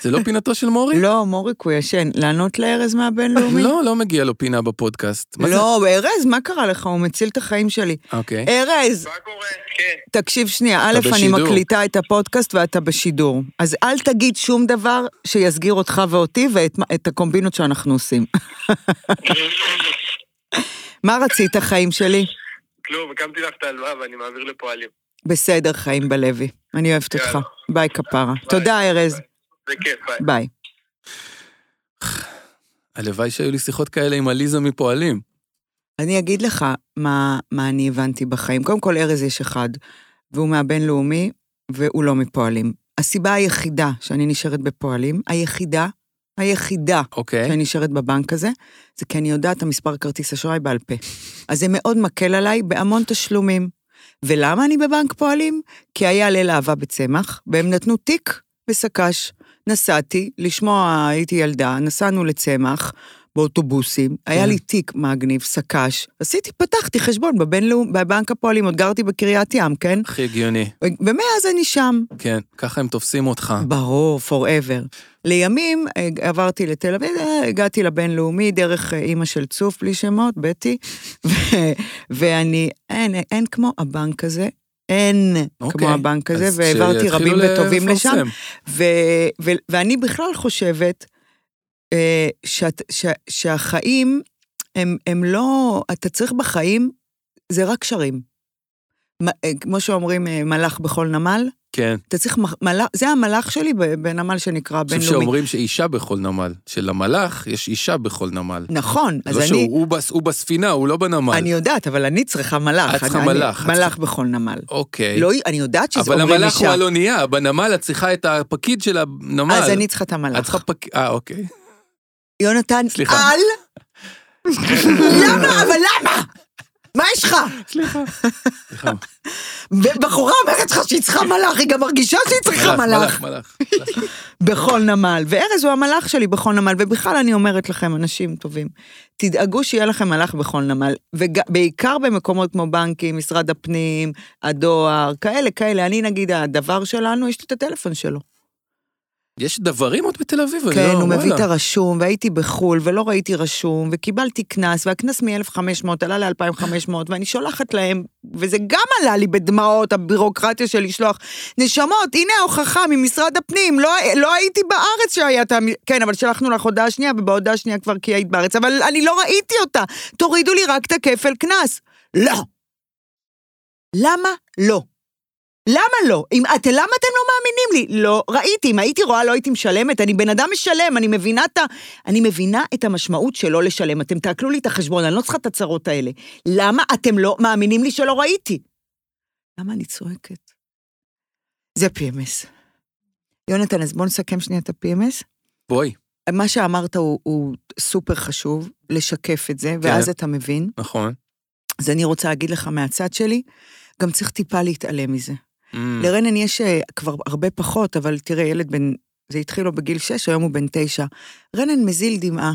זה לא פינתו של מורי?
לא, מוריק הוא ישן. לענות לארז מהבינלאומי?
לא, לא מגיע לו פינה בפודקאסט. מה זה?
לא, ארז, מה קרה לך? הוא מציל את החיים שלי.
אוקיי.
ארז,
מה קורה? כן.
תקשיב שנייה, א',
אתה
אני
בשידור.
מקליטה את הפודקאסט ואתה בשידור. אז אל תגיד שום דבר שיסגיר אותך ואותי ואת מה- את הקומבינות שאנחנו עושים. מה רצית, חיים שלי?
כלום, הקמתי לך את ההלוואה ואני מעביר לפועלים.
בסדר, חיים בלוי. אני אוהבת אותך.
יאללה.
ביי, כפרה. תודה, ארז.
זה כיף, אה? ביי.
ביי.
הלוואי שהיו לי שיחות כאלה עם עליזה מפועלים.
אני אגיד לך מה, מה אני הבנתי בחיים. קודם כל, ארז יש אחד, והוא מהבינלאומי, והוא לא מפועלים. הסיבה היחידה שאני נשארת בפועלים, היחידה, היחידה
אוקיי.
שאני נשארת בבנק הזה, זה כי אני יודעת את המספר כרטיס אשראי בעל פה. אז זה מאוד מקל עליי בהמון תשלומים. ולמה אני בבנק פועלים? כי היה ליל אהבה בצמח, והם נתנו תיק וסק"ש. נסעתי, לשמוע, הייתי ילדה, נסענו לצמח באוטובוסים, היה
כן.
לי תיק מגניב, סק"ש, עשיתי, פתחתי חשבון בבינלאום, בבנק הפועלים, עוד גרתי בקריית ים, כן?
הכי הגיוני,
ומאז אני שם.
כן. ככה הם תופסים אותך.
ברור, forever. לימים אה, עברתי לתל אביב, אה, הגעתי לבינלאומי דרך אה, אימא של צוף, בלי שמות, בטי, ו, ואני, אין, אין כמו הבנק הזה, אין
אוקיי.
כמו הבנק הזה,
אז
והעברתי
שיתחילו
רבים וטובים לשם,
לפרסם.
ו, ו, ואני בכלל חושבת אה, שאת, ש, שהחיים הם, הם לא, אתה צריך בחיים, זה רק קשרים. מה- אה, כמו שאומרים, אה, מלאך בכל נמל,
כן.
אתה צריך מח- מלאך, זה המלאך שלי ב- בנמל שנקרא
אני חושב
בינלאומי.
שאומרים שאישה בכל נמל. שלמלאך יש אישה בכל נמל.
נכון,
לא
אז אני,
שהוא הוא בס- הוא בספינה, הוא לא בנמל.
אני יודעת, אבל אני צריכה מלאך.
את צריכה
אני-
מלאך, את
מלאך
צריכה-
בכל נמל.
אוקיי.
לא, אני יודעת שזה
אבל
אומרים
המלאך הוא
אישה.
על אונייה, בנמל את צריכה את הפקיד של הנמל.
אז אני צריכה את
את
המלאך.
צריכה פקיד... אה, אוקיי.
יונתן,
סליחה.
אל... למה? אבל למה? מה יש לך?
סליחה. סליחה.
בחורה אומרת לך שהיא צריכה מלאך, היא גם מרגישה שהיא צריכה מלאך.
מלאך, מלאך.
בכל נמל, וארז הוא המלאך שלי בכל נמל, ובכלל אני אומרת לכם, אנשים טובים, תדאגו שיהיה לכם מלאך בכל נמל, ובעיקר במקומות כמו בנקים, משרד הפנים, הדואר, כאלה, כאלה. אני נגיד, הדבר שלנו, יש לי את הטלפון שלו.
יש דברים עוד בתל אביב, אני
כן,
לא-
הוא מביא את
וואלה.
הרשום, והייתי בחו"ל, ולא ראיתי רשום, וקיבלתי קנס, והקנס מ-1,500 עלה ל-2,500, ואני שולחת להם, וזה גם עלה לי בדמעות, הבירוקרטיה של לשלוח. נשמות, הנה ההוכחה ממשרד הפנים, לא, לא הייתי בארץ שהיה את ה... כן, אבל שלחנו לך הודעה שנייה, ובהודעה השנייה כבר כי היית בארץ, אבל אני לא ראיתי אותה. תורידו לי רק את הכפל קנס. לא. למה לא? למה לא? אם את, למה אתם לא מאמינים לי? לא, ראיתי, אם הייתי רואה לא הייתי משלמת, אני בן אדם משלם, אני מבינה את ה... אני מבינה את המשמעות של לא לשלם. אתם תעקלו לי את החשבון, אני לא צריכה את הצרות האלה. למה אתם לא מאמינים לי שלא ראיתי? למה אני צועקת? זה PMS. יונתן, אז בוא נסכם שנייה את ה-PMS.
בואי,
מה שאמרת הוא, הוא סופר חשוב, לשקף את זה, ואז
כן.
אתה מבין.
נכון.
אז אני רוצה להגיד לך מהצד שלי, גם צריך טיפה להתעלם מזה.
Mm,
לרנן יש אה, כבר הרבה פחות, אבל תראה, ילד בן... זה התחיל לו בגיל 6, היום הוא בן 9. רנן מזיל דמעה,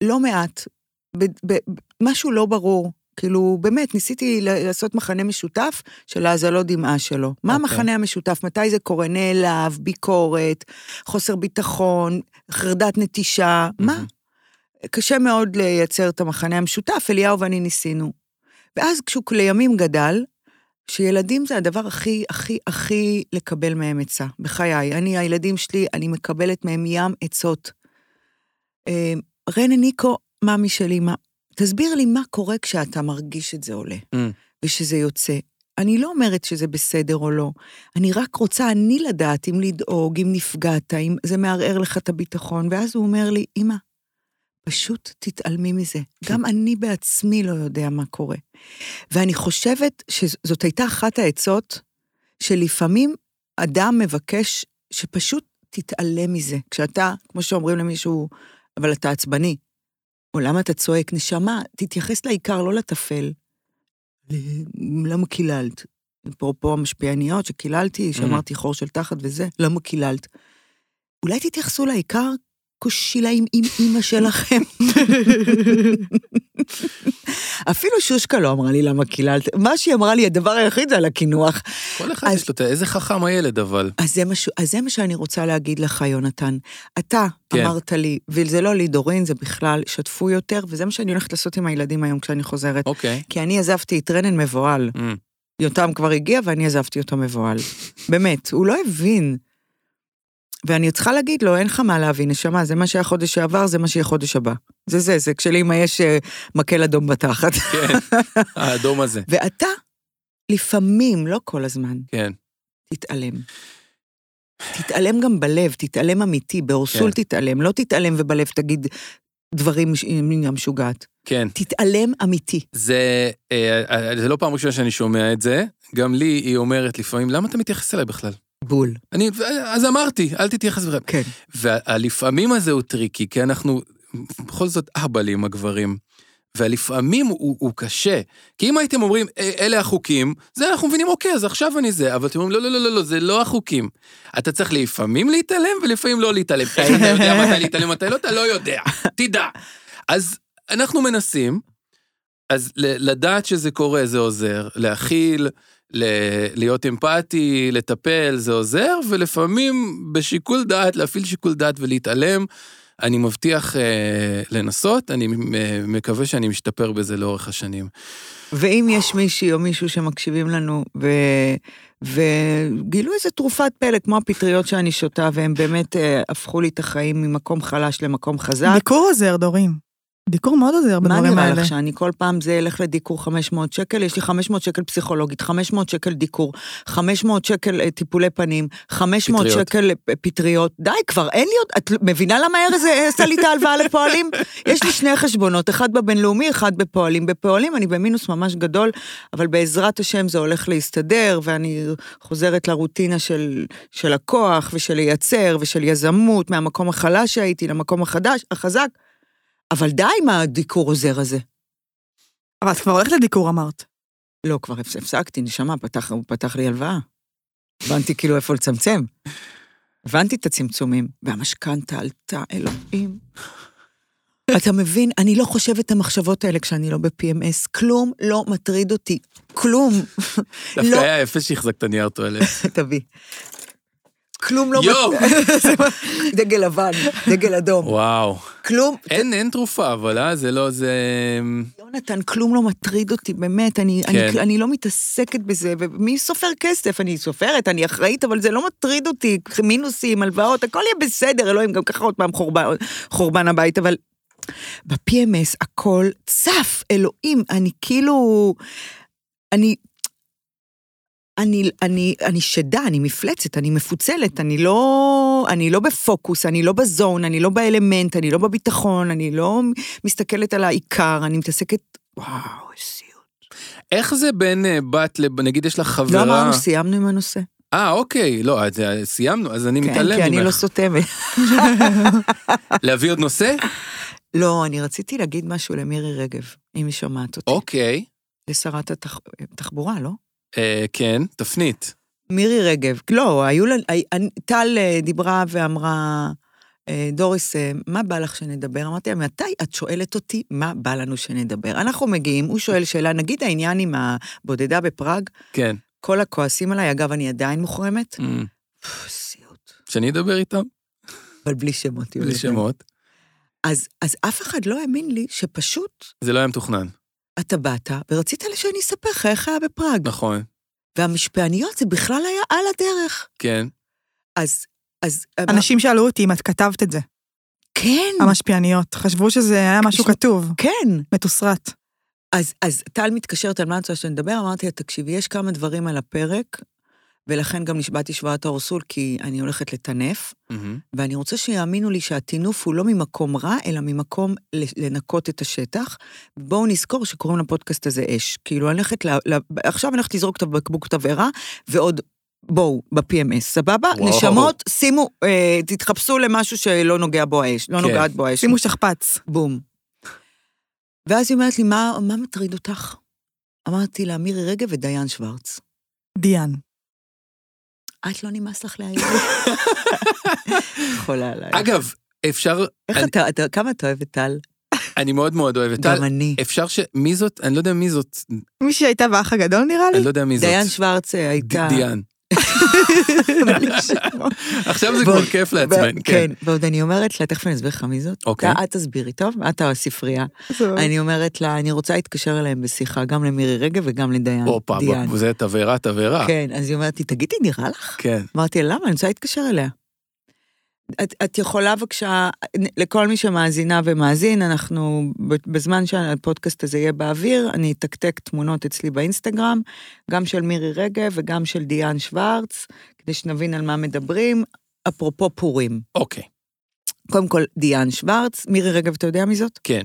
לא מעט, ב, ב, ב, משהו לא ברור. כאילו, באמת, ניסיתי ל- לעשות מחנה משותף של ההזלות דמעה שלו. מה
אוקיי.
המחנה המשותף? מתי זה קורה? נעלב, ביקורת, חוסר ביטחון, חרדת נטישה, מה?
מהמם.
קשה מאוד לייצר את המחנה המשותף, אליהו ואני ניסינו. ואז כשהוא לימים גדל, שילדים זה הדבר הכי, הכי, הכי לקבל מהם עצה, בחיי. אני, הילדים שלי, אני מקבלת מהם ים עצות. אה, רנה ניקו, מאמי שלי, מה? תסביר לי מה קורה כשאתה מרגיש את זה עולה,
Mm.
ושזה יוצא. אני לא אומרת שזה בסדר או לא, אני רק רוצה אני לדעת אם לדאוג, אם נפגעת, אם זה מערער לך את הביטחון. ואז הוא אומר לי, אמא, פשוט תתעלמי מזה. גם אני בעצמי לא יודע מה קורה. ואני חושבת שזאת הייתה אחת העצות שלפעמים אדם מבקש שפשוט תתעלם מזה. כשאתה, כמו שאומרים למישהו, אבל אתה עצבני, או למה אתה צועק, נשמה, תתייחס לעיקר, לא לטפל. ל- למה קיללת? אפרופו המשפיעניות שקיללתי, שאמרתי חור של תחת וזה, למה קיללת? אולי תתייחסו לעיקר, קושילאים עם אימא שלכם. אפילו שושקה לא אמרה לי למה קיללת, מה שהיא אמרה לי, הדבר היחיד זה על הקינוח.
כל אחד
אז-
יש לו את ה... איזה חכם הילד, אבל.
אז זה, מה, ש- אז זה מה שאני רוצה להגיד לך, יונתן. אתה
כן.
כן. אמרת לי, וזה לא לידורין, זה בכלל, שתפו יותר, וזה מה שאני הולכת לעשות עם הילדים היום כשאני חוזרת.
אוקיי.
כי אני עזבתי את רנן מבוהל.
Mm,
יותם כבר הגיע ואני עזבתי אותו מבוהל. באמת, הוא לא הבין. ואני צריכה להגיד לו, אין לך מה להבין, נשמה, זה מה שהיה חודש שעבר, זה מה שיהיה חודש הבא. זה זה, זה כשלאמא יש אה, מקל אדום בתחת.
כן, האדום הזה.
ואתה, לפעמים, לא כל הזמן,
כן.
תתעלם. תתעלם גם בלב, תתעלם אמיתי, באורסול
כן.
תתעלם, לא תתעלם ובלב תגיד דברים עם המשוגעת.
כן.
תתעלם אמיתי.
זה, אה, אה, זה לא פעם ראשונה שאני שומע את זה. גם לי היא אומרת לפעמים, למה אתה מתייחס אליי בכלל?
בול.
אני, אז אמרתי, אל תתייחס בכלל.
כן.
והלפעמים הזה הוא טריקי, כי אנחנו בכל זאת אהבלים הגברים. והלפעמים הוא, הוא קשה. כי אם הייתם אומרים, "אה, אלה החוקים, זה אנחנו מבינים, אוקיי, אז עכשיו אני זה. אבל אתם אומרים, לא, לא, לא, לא, לא, זה לא החוקים. אתה צריך לפעמים להתעלם ולפעמים לא להתעלם. האם אתה יודע מתי להתעלם, מתי לא, אתה לא יודע. תדע. אז אנחנו מנסים, אז ל- לדעת שזה קורה זה עוזר, להכיל, ל- להיות אמפתי, לטפל, זה עוזר, ולפעמים בשיקול דעת, להפעיל שיקול דעת ולהתעלם. אני מבטיח אה, לנסות, אני אה, מקווה שאני משתפר בזה לאורך השנים.
ואם יש מישהי או מישהו שמקשיבים לנו ו... וגילו איזה תרופת פלא, כמו הפטריות שאני שותה, והם באמת אה, הפכו לי את החיים ממקום חלש למקום חזק.
דיקור עוזר, דורין. דיקור מאוד עוזר
מה
בדברים
נראה
האלה.
לך, שאני כל פעם זה אלך לדיקור 500 שקל? יש לי 500 שקל פסיכולוגית, 500 שקל דיקור, 500 שקל אה, טיפולי פנים, 500
פטריות.
שקל אה, פטריות. די, כבר אין לי עוד... את לא, מבינה למה ארז אה, עשה לי את ההלוואה לפועלים? יש לי שני חשבונות, אחד בבינלאומי, אחד בפועלים. בפועלים אני במינוס ממש גדול, אבל בעזרת השם זה הולך להסתדר, ואני חוזרת לרוטינה של, של הכוח ושל לייצר ושל יזמות, מהמקום החלש שהייתי למקום החדש, החזק. אבל די עם הדיקור עוזר הזה.
אבל את כבר הולכת לדיקור, אמרת.
לא, כבר הפס- הפסקתי, נשמה, פתח, הוא פתח לי הלוואה. הבנתי כאילו איפה לצמצם. הבנתי את הצמצומים, והמשכנתה עלתה, אלוהים. אתה מבין, אני לא חושבת את המחשבות האלה כשאני לא ב-PMS, כלום לא מטריד אותי, כלום.
דווקא
לא,
היה יפה שהחזקת נייר טואלט.
תביא. כלום לא...
יואו!
דגל לבן, דגל אדום.
וואו.
כלום,
אין, אין תרופה, אבל אה, זה לא, זה...
יונתן, כלום לא מטריד אותי, באמת, אני, כן.
כן.
אני, אני לא מתעסקת בזה, ומי סופר כסף? אני סופרת, אני אחראית, אבל זה לא מטריד אותי, מינוסים, הלוואות, הכל יהיה בסדר, אלוהים, גם ככה עוד פעם חורבן, חורבן הבית, אבל ב-PMS הכל צף, אלוהים, אני כאילו... אני... אני, אני, אני שדה, אני מפלצת, אני מפוצלת, אני לא, אני לא בפוקוס, אני לא בזון, אני לא באלמנט, אני לא בביטחון, אני לא מסתכלת על העיקר, אני מתעסקת... וואו, איזה סיוט.
איך זה בין אה, בת לב... נגיד יש לך
לא
חברה...
אמרנו, סיימנו עם הנושא.
אה, אוקיי, לא, אז, אה, סיימנו, אז אני מתעלם
כן,
ממך.
כי אני לא סותמת.
להביא עוד נושא?
לא, אני רציתי להגיד משהו למירי רגב, אם היא שומעת אותי.
אוקיי.
לשרת התחבורה, לא?
אה, כן, תפנית.
מירי רגב, לא, היו לנו, הי- אני- טל אה, דיברה ואמרה, אה, דוריס, אה, מה בא לך שנדבר? אמרתי לה, מתי את שואלת אותי מה בא לנו שנדבר? אנחנו מגיעים, הוא שואל שאלה, נגיד העניין עם הבודדה בפראג,
כן.
כל הכועסים עליי, אגב, אני עדיין מוחרמת,
אמ,
פו, סיוט,
שאני אדבר איתם?
אבל בלי שמות.
בלי
יונתן.
שמות.
אז, אז אף אחד לא האמין לי שפשוט
זה לא היה מתוכנן.
אתה באת ורצית שאני אספר לך איך היה בפראג.
נכון.
והמשפעניות זה בכלל היה על הדרך.
כן.
אז, אז...
אנשים שאלו אותי אם את כתבת את זה,
כן,
המשפיעניות. חשבו שזה היה משהו
ש-
כתוב,
כן.
מתוסרט.
אז, אז טל מתקשרת על מה את רוצה שנדבר, אמרתי לה, תקשיבי, יש כמה דברים על הפרק, ולכן גם נשבעתי שבועת האורסול, כי אני הולכת לטנף,
מהמם.
ואני רוצה שיאמינו לי שהטינוף הוא לא ממקום רע, אלא ממקום ל- לנקות את השטח. בואו נזכור שקוראים לפודקאסט הזה אש. כאילו, אני הולכת ל... ל עכשיו אני הולכת לזרוק את הבקבוק תבערה, ועוד... בואו, ב-PMS, סבבה?
וואו.
נשמות, שימו, אה, תתחפשו למשהו שלא נוגע בו האש, לא
כן.
נוגעת בו האש.
שימו שכפ"ץ.
בום. ואז היא אומרת לי, מה, מה מטריד אותך? אמרתי לה, מירי רגב ודיין שוורץ.
דיאן.
את לא נמאס לך להעיר? חולה עליי.
אגב, אפשר...
איך
אני-
אתה, אתה, כמה אתה אוהב את טל?
אני מאוד מאוד אוהב את טל.
גם אני.
אפשר ש... מי זאת? אני לא יודע מי זאת.
מי שהייתה באח הגדול נראה לי?
אני לא יודע מי זאת.
דיין שוורץ אה, הייתה...
ד- דיאן.
בלי שמות.
עכשיו זה
בוא,
כבר כיף לעצמנו.
ו-
כן.
כן, ועוד אני אומרת לה, תכף אני אסביר לך מי זאת.
אוקיי.
אתה- את תסבירי, טוב? את הספרייה.
זה-
אני אומרת לה, אני רוצה להתקשר אליהם בשיחה, גם למירי רגב וגם לדיין.
הופה,
דיין.
בוא, זה תבערה, תבערה.
כן, אז היא אומרת לי, תגידי, נראה לך?
כן.
אמרתי לה, למה? אני רוצה להתקשר אליה. את, את יכולה בבקשה, לכל מי שמאזינה ומאזין, אנחנו, ב- בזמן שהפודקאסט הזה יהיה באוויר, אני אתקתק תמונות אצלי באינסטגרם, גם של מירי רגב וגם של דיאן שוורץ, כדי שנבין על מה מדברים, אפרופו פורים.
אוקיי.
קודם כל, דיאן שוורץ, מירי רגב, אתה יודע מי זאת?
כן.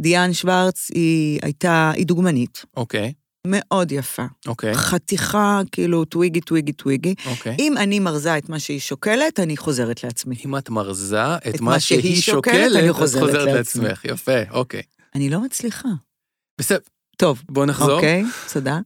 דיאן שוורץ היא הייתה, היא דוגמנית,
אוקיי.
מאוד יפה.
אוקיי.
חתיכה, כאילו, טוויגי, טוויגי, טוויגי.
אוקיי.
אם אני מרזה את מה שהיא שוקלת, אני חוזרת לעצמי.
אם את מרזה את
מה
מה שהיא
שהיא שוקלת,
שוקלת,
אני
את
חוזרת
חוזרת
לעצמי.
לעצמך. יפה, אוקיי.
אני לא מצליחה.
בסדר,
טוב,
בוא נחזור.
אוקיי, תודה.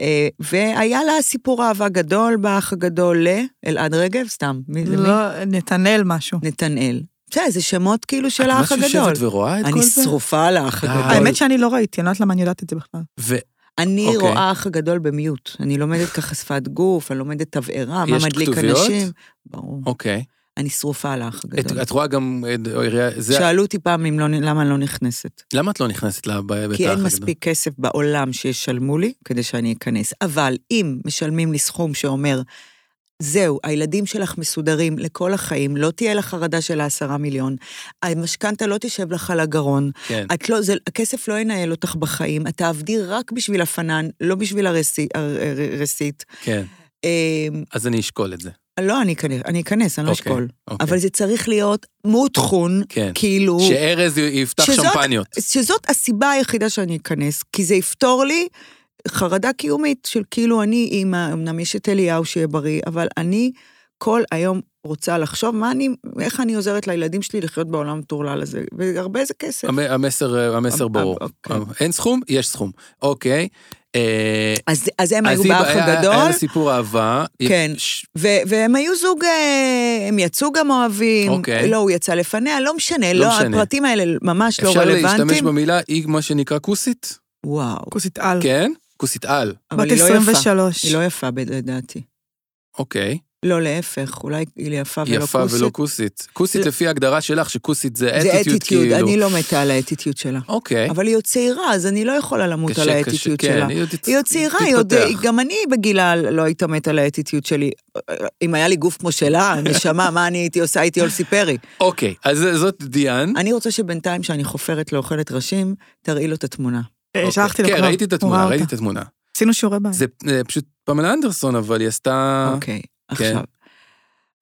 אה, והיה לה סיפור אהבה גדול באח הגדול לאלעד רגב, סתם, מי זה מי?
לא, נתנאל משהו.
נתנאל. בסדר, זה שמות כאילו של
את
האח
ממש
הגדול.
יושבת ורואה את כל
אני
זה?
שרופה על האח
די.
הגדול.
האמת שאני לא ראיתי, אני לא יודעת למה אני יודעת את זה בכלל.
ויש
אני
אוקיי.
רואה אח הגדול במיוט. אני לומדת ככה שפת גוף, אני לומדת תבערה, מה מדליק
כתוביות?
אנשים. ברור.
אוקיי.
אני שרופה על האח
את-
הגדול.
את רואה גם... את- או עירייה- זה-
שאלו אותי פעם אם לא- למה אני לא נכנסת.
למה את לא נכנסת לבית האח הגדול?
כי אין מספיק כסף בעולם שישלמו לי כדי שאני אכנס. אבל אם משלמים לי סכום שאומר, זהו, הילדים שלך מסודרים לכל החיים, לא תהיה לך חרדה של העשרה מיליון, המשכנתה לא תשב לך על הגרון,
כן.
את לא, זה, הכסף לא ינהל אותך בחיים, את תעבדי רק בשביל הפנן, לא בשביל הרסי- הר- הר- הרסית.
כן.
אמ,
אז אני אשקול את זה.
לא, אני אכנס, אני אכנס, אני לא
אוקיי,
אשקול.
אוקיי.
אבל זה צריך להיות מותחון,
כן.
כאילו...
שארז י- יפתח
שזאת-
שמפניות.
שזאת הסיבה היחידה שאני אכנס, כי זה יפתור לי חרדה קיומית של כאילו אני אימא, אמנם יש את אליהו שיהיה בריא, אבל אני כל היום רוצה לחשוב מה אני, איך אני עוזרת לילדים שלי לחיות בעולם המטורלל הזה, והרבה זה כסף.
המ- המסר המסר
אמ-
ברור. אה,
אמ- אוקיי.
אין סכום? יש סכום. אוקיי. אה,
אז, אז הם
אז
היו
היא-
באח
היה- היה
הגדול,
לה סיפור אהבה.
כן.
ש-
ו- והם היו זוג, אה, הם יצאו גם אוהבים,
אוקיי.
לא, הוא יצא לפניה, לא משנה,
לא
לא,
משנה.
הפרטים האלה ממש לא
אפשר להשתמש
רלוונטיים.
במילה היא מה שנקרא כוסית?
וואו,
כוסית
אה.
על.
כן? כוסית על.
אבל
בת
היא לא יפה,
23.
היא לא יפה בד- לדעתי.
אוקיי.
לא, להפך, אולי היא יפה ולא
יפה ולא
כוסית.
כוסית. כוסית
זה-
לפי ההגדרה שלך, שכוסית זה
זה
אטיטיוד
אטיטיוד,
כאילו.
אני לא מתה על האטיטיוד שלה.
אוקיי.
אבל היא עוד צעירה, אז אני לא יכולה למות
קשה,
על
קשה,
האטיטיוד
כן,
שלה.
עוד תצ-
היא עוד צעירה, היא עוד... אה,
תתפתח.
גם אני בגילה לא הייתה מתה על האטיטיוד שלי. אם היה לי גוף כמו שלה, נשמה, מה אני הייתי עושה? הייתי אולסי פרי.
אוקיי, אז זאת דיאן.
אני רוצה שבינתיים שאני חופרת לאוכלת ראשים, תראי לו את התמונה.
אה,
אוקיי.
שלחתי לו
כן,
כבר,
ראיתי את
הוא
התמונה,
ראה
ראיתי את
אותה.
התמונה.
עשינו שיעורי בית.
זה אה, פשוט פמלה אנדרסון, אבל היא עשתה...
אוקיי,
כן.
עכשיו.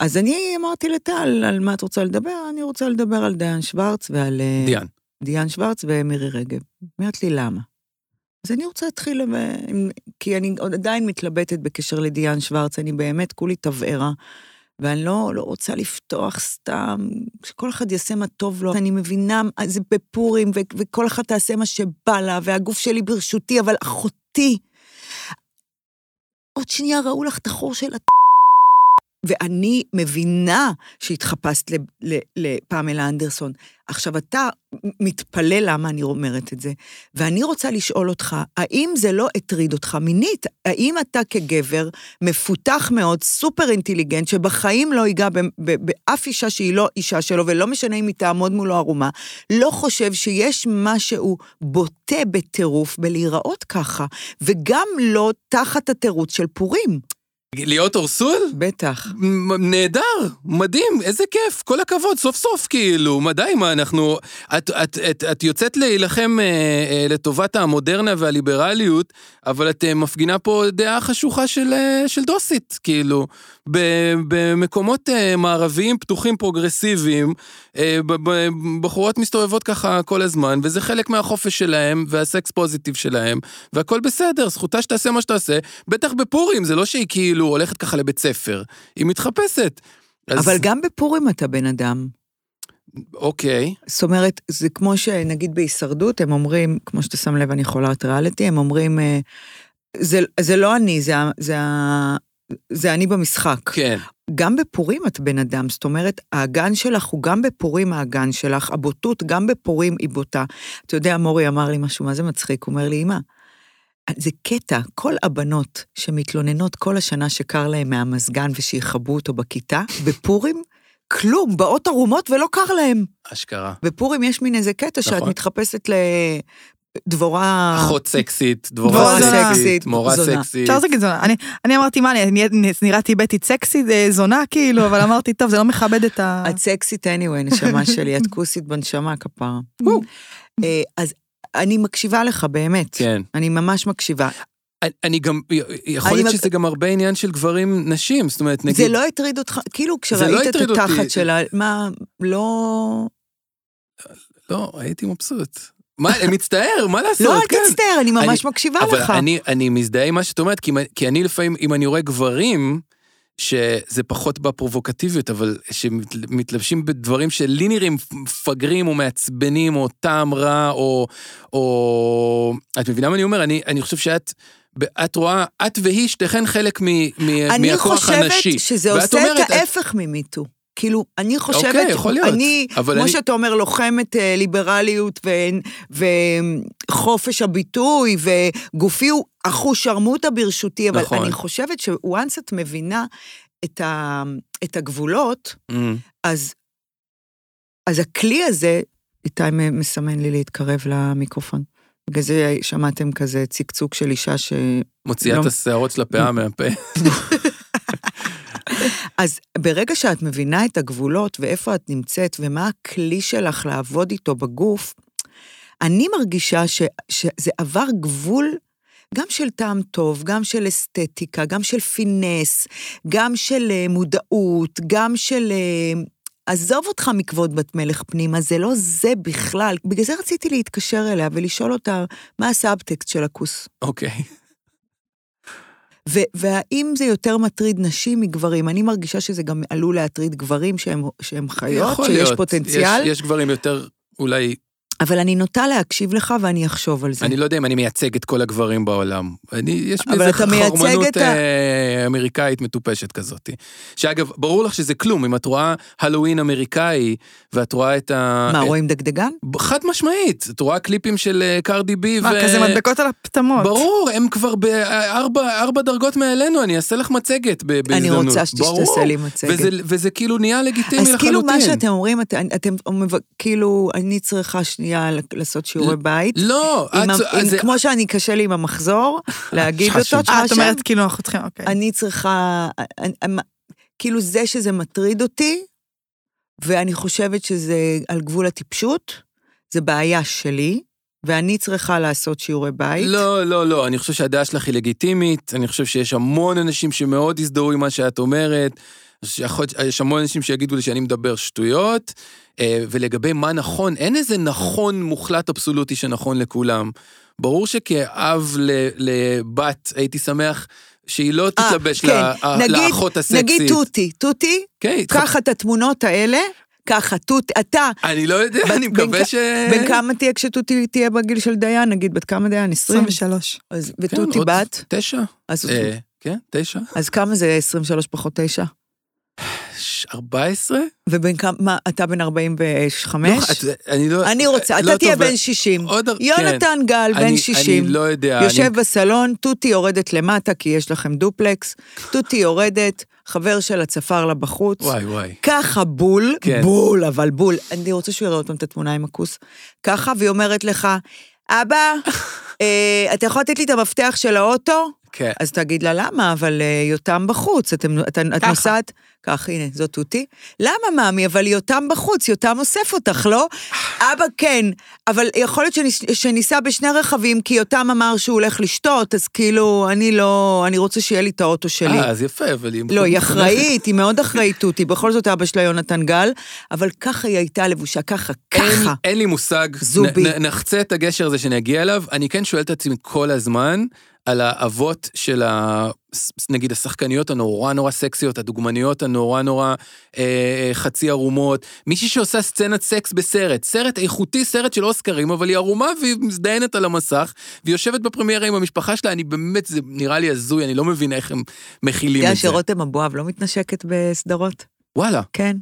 אז אני אמרתי לטל, על מה את רוצה לדבר? אני רוצה לדבר על דיין שוורץ ועל... אה,
דיאן.
דיאן שוורץ ומירי רגב. אומרת לי, למה? אז אני רוצה להתחיל, עם- עם- כי אני עוד עדיין מתלבטת בקשר לדיאן שוורץ, אני באמת כולי תבערה, ואני לא, לא רוצה לפתוח סתם, שכל אחד יעשה מה טוב לו. אני מבינה, זה בפורים, ו- וכל אחד תעשה מה שבא לה, והגוף שלי ברשותי, אבל אחותי, עוד שנייה ראו לך את החור של הת... ואני מבינה שהתחפשת לפ- ל- לפמלה אנדרסון. עכשיו, אתה מתפלא למה אני אומרת את זה, ואני רוצה לשאול אותך, האם זה לא הטריד אותך מינית? האם אתה כגבר מפותח מאוד, סופר אינטליגנט, שבחיים לא ייגע ב- ב- באף אישה שהיא לא אישה שלו, ולא משנה אם היא תעמוד מולו ערומה, לא חושב שיש משהו בוטה בטירוף בלהיראות ככה, וגם לא תחת התירוץ של פורים.
להיות אורסול?
בטח.
מ- נהדר, מדהים, איזה כיף, כל הכבוד, סוף סוף כאילו, מה די, מה אנחנו... את, את, את, את יוצאת להילחם אה, אה, לטובת המודרנה והליברליות, אבל את אה, מפגינה פה דעה חשוכה של, אה, של דוסית, כאילו, ב, במקומות אה, מערביים פתוחים פרוגרסיביים, אה, ב, ב, בחורות מסתובבות ככה כל הזמן, וזה חלק מהחופש שלהם, והסקס פוזיטיב שלהם, והכל בסדר, זכותה שתעשה מה שתעשה, בטח בפורים, זה לא שהיא כאילו הולכת ככה לבית ספר. היא מתחפשת. אז,
אבל גם בפורים אתה בן אדם.
אוקיי,
זאת אומרת, זה כמו שנגיד בהישרדות, הם אומרים, כמו שאתה שם לב, אני חולת ריאליטי, הם אומרים, אה, זה, זה לא אני, זה, ה- זה, ה- זה אני במשחק.
כן.
גם בפורים את בן אדם, זאת אומרת, האגן שלך הוא גם בפורים האגן שלך, הבוטות גם בפורים היא בוטה. אתה יודע, מורי אמר לי משהו, מה זה מצחיק? הוא אומר לי, אמא, זה קטע, כל הבנות שמתלוננות כל השנה שקר להן מהמזגן ושיכבו אותו בכיתה, בפורים, כלום, באות ערומות ולא קר להן.
אשכרה.
בפורים יש מין איזה קטע שאת
נכון.
מתחפשת לדבורה...
אחות סקסית, דבורה
דבורה
סקסית,
אה. סקסית,
מורה
זונה.
סקסית.
אפשר להגיד זונה. אני- אני אמרתי, מה, אני אני נראית טיבטית סקסית, אה, זונה כאילו, אבל אמרתי, טוב, זה לא מכבד את ה...
את סקסית anyway, נשמה שלי, את כוסית בנשמה כפרה.
וואו.
אה, אז אני מקשיבה לך, באמת.
כן. אה,
אני ממש מקשיבה.
אני- אני גם, יכול להיות
אני-
שזה גם הרבה עניין של גברים נשים, זאת אומרת, נגיד...
זה לא הטריד אותך, כאילו
זה לא
כשראית את
הטריד אותי.
התחת שלה, מה, לא...
לא, הייתי מבסוט. מה, אני מצטער, מה לעשות?
לא, אל
כן.
תצטער, אני ממש מקשיבה לך.
אבל אני, אני מזדהה עם מה שאת אומרת, כי, כי אני לפעמים, אם אני רואה גברים, שזה פחות בפרובוקטיביות, אבל שמתלבשים בדברים שלי נראים מפגרים או מעצבנים או טעם רע, או... או... את מבינה מה אני אומר? אני, אני חושב שאת... את רואה, את והיא, שתיכן חלק מ, מ,
אני
מהכוח
חושבת
הנשי.
שזה
ואת
עושה
אומרת,
את ההפך ממיטו. כאילו, אני חושבת,
אוקיי, יכול להיות,
אני,
אבל
כמו
אני-
שאתה אומר, לוחמת אה, ליברליות ו- וחופש הביטוי וגופי הוא אחושרמוטה ברשותי, אבל
נכון.
אני חושבת שוואנס את מבינה את, ה, את הגבולות,
אמ,
אז, אז הכלי הזה, איתי מ- מסמן לי להתקרב למיקרופון. בגלל זה שמעתם כזה צקצוק של אישה ש...
מוציאה
לא.
את השערות של הפאה מהפה.
אז ברגע שאת מבינה את הגבולות ואיפה את נמצאת ומה הכלי שלך לעבוד איתו בגוף, אני מרגישה ש, שזה עבר גבול גם של טעם טוב, גם של אסתטיקה, גם של פינס, גם של אה, מודעות, גם של... אה, עזוב אותך מכבוד בת מלך פנימה, זה לא זה בכלל. בגלל זה רציתי להתקשר אליה ולשאול אותה מה הסאבטקסט של הכוס.
אוקיי.
ו- והאם זה יותר מטריד נשים מגברים? אני מרגישה שזה גם עלול להטריד גברים שהם, שהם חיות,
יכול
שיש
להיות.
פוטנציאל,
יש, יש גברים יותר אולי
אבל אני נוטה להקשיב לך ואני אחשוב על זה.
אני לא יודע אם אני מייצג את כל הגברים בעולם. אני, יש
כן. אבל
בי איזה
אתה מייצג את
חרמנות
ה-
אה, אמריקאית מטופשת כזאת. שאגב, ברור לך שזה כלום, אם את רואה הלואוין אמריקאי, ואת רואה את ה...
מה,
את-
רואים דגדגן?
חד משמעית, את רואה קליפים של אה, קרדי בי
מה,
ו...
כזה מדבקות על הפטמות.
ברור, הם כבר בארבע ארבע דרגות מעלינו, אני אעשה לך מצגת ב-
אני
בהזדמנות.
רוצה שת-
ברור.
שתעשה לי מצגת.
וזה, וזה כאילו נהיה לגיטימי
אז
לחלוטין.
כאילו מה שאתם אומרים, את- אתם אומרים, כאילו, אני צריכה שנייה ל- לעשות שיעורי בית.
לא, את...
עם ה- עם-
זה-
כמו שאני קשה לי עם המחזור, להגיד
שחשו.
אותו,
אה,
תשמע
את
שם,
אומרת, כאילו, אנחנו צריכים, אוקיי.
כן.
אני צריכה, אני- אני- כאילו זה שזה מטריד אותי, ואני חושבת שזה על גבול הטיפשות, זה בעיה שלי, ואני צריכה לעשות שיעורי בית.
לא, לא, לא, אני חושב שהדעה שלך היא לגיטימית, אני חושב שיש המון אנשים שמאוד יזדהו עם מה שאת אומרת, שיכול- יש המון אנשים שיגידו לי שאני מדבר שטויות, אה, ולגבי מה נכון, אין איזה נכון מוחלט אבסולוטי שנכון לכולם. ברור שכאב ל- לבת הייתי שמח שהיא לא
אה,
תתלבש
כן,
לה- ה-
נגיד-
לאחות הסקסית.
נגיד תותי, תותי,
כן, התח-
קח את התמונות האלה, ככה, תותי, אתה,
אני לא יודע, אני
בן
מקווה
כ-
ש...
בן כמה תהיה כשתותי תהיה בגיל של דיין, נגיד בת כמה דיין? 20?
23.
אז-
כן,
ותותי
עוד
בת,
תשע.
אז-
אה, כן, תשע.
אז כמה זה 23 פחות 9?
ארבע עשרה?
ובן כמה, מה, אתה בן 45?
אני לא...
אני רוצה,
לא
אתה תהיה
טוב,
בן 60.
עוד- כן.
יונתן גל, בן
אני-
60.
אני לא יודע.
יושב
אני,
בסלון, תותי יורדת למטה, כי יש לכם דופלקס. תותי יורדת, חבר שלה צפר לה בחוץ.
וואי, וואי.
ככה בול,
כן.
בול, אבל בול. אני רוצה שהוא יראה עוד פעם את התמונה עם הכוס. ככה, והיא אומרת לך, אבא, אה, אתה יכול לתת לי את המפתח של האוטו?
כן.
אז תגיד לה, למה? אבל אה, יותם בחוץ, אתם, את, את
ככה.
נוסעת... כך, הנה, זאת אותי. למה, מאמי? אבל יותם בחוץ, יותם אוסף אותך, לא? אבא, כן, אבל יכול להיות שניס, שניסע בשני רכבים, כי יותם אמר שהוא הולך לשתות, אז כאילו, אני לא... אני רוצה שיהיה לי את האוטו שלי.
אה, אז יפה, אבל היא...
לא, היא
מחונכת.
אחראית, היא מאוד אחראית תותי. בכל זאת אבא שלה יונתן גל, אבל ככה היא הייתה לבושה, ככה,
אין,
ככה.
אין לי מושג.
זובי.
נ, נ, נחצה את הגשר הזה שנגיע אליו. אני כן שואל את עצמי כל הזמן על האבות של ה... ס- נגיד השחקניות הנורא נורא סקסיות, הדוגמניות הנורא נורא אה, אה, חצי ערומות. מישהי שעושה סצנת סקס בסרט, סרט איכותי, סרט של אוסקרים, אבל היא ערומה והיא מזדיינת על המסך, והיא יושבת בפרמיירה עם המשפחה שלה, אני באמת, זה נראה לי הזוי, אני לא מבין איך הם מכילים
אתה
את
יודע
זה.
שרותם אבואב לא מתנשקת בסדרות?
וואלה.
כן.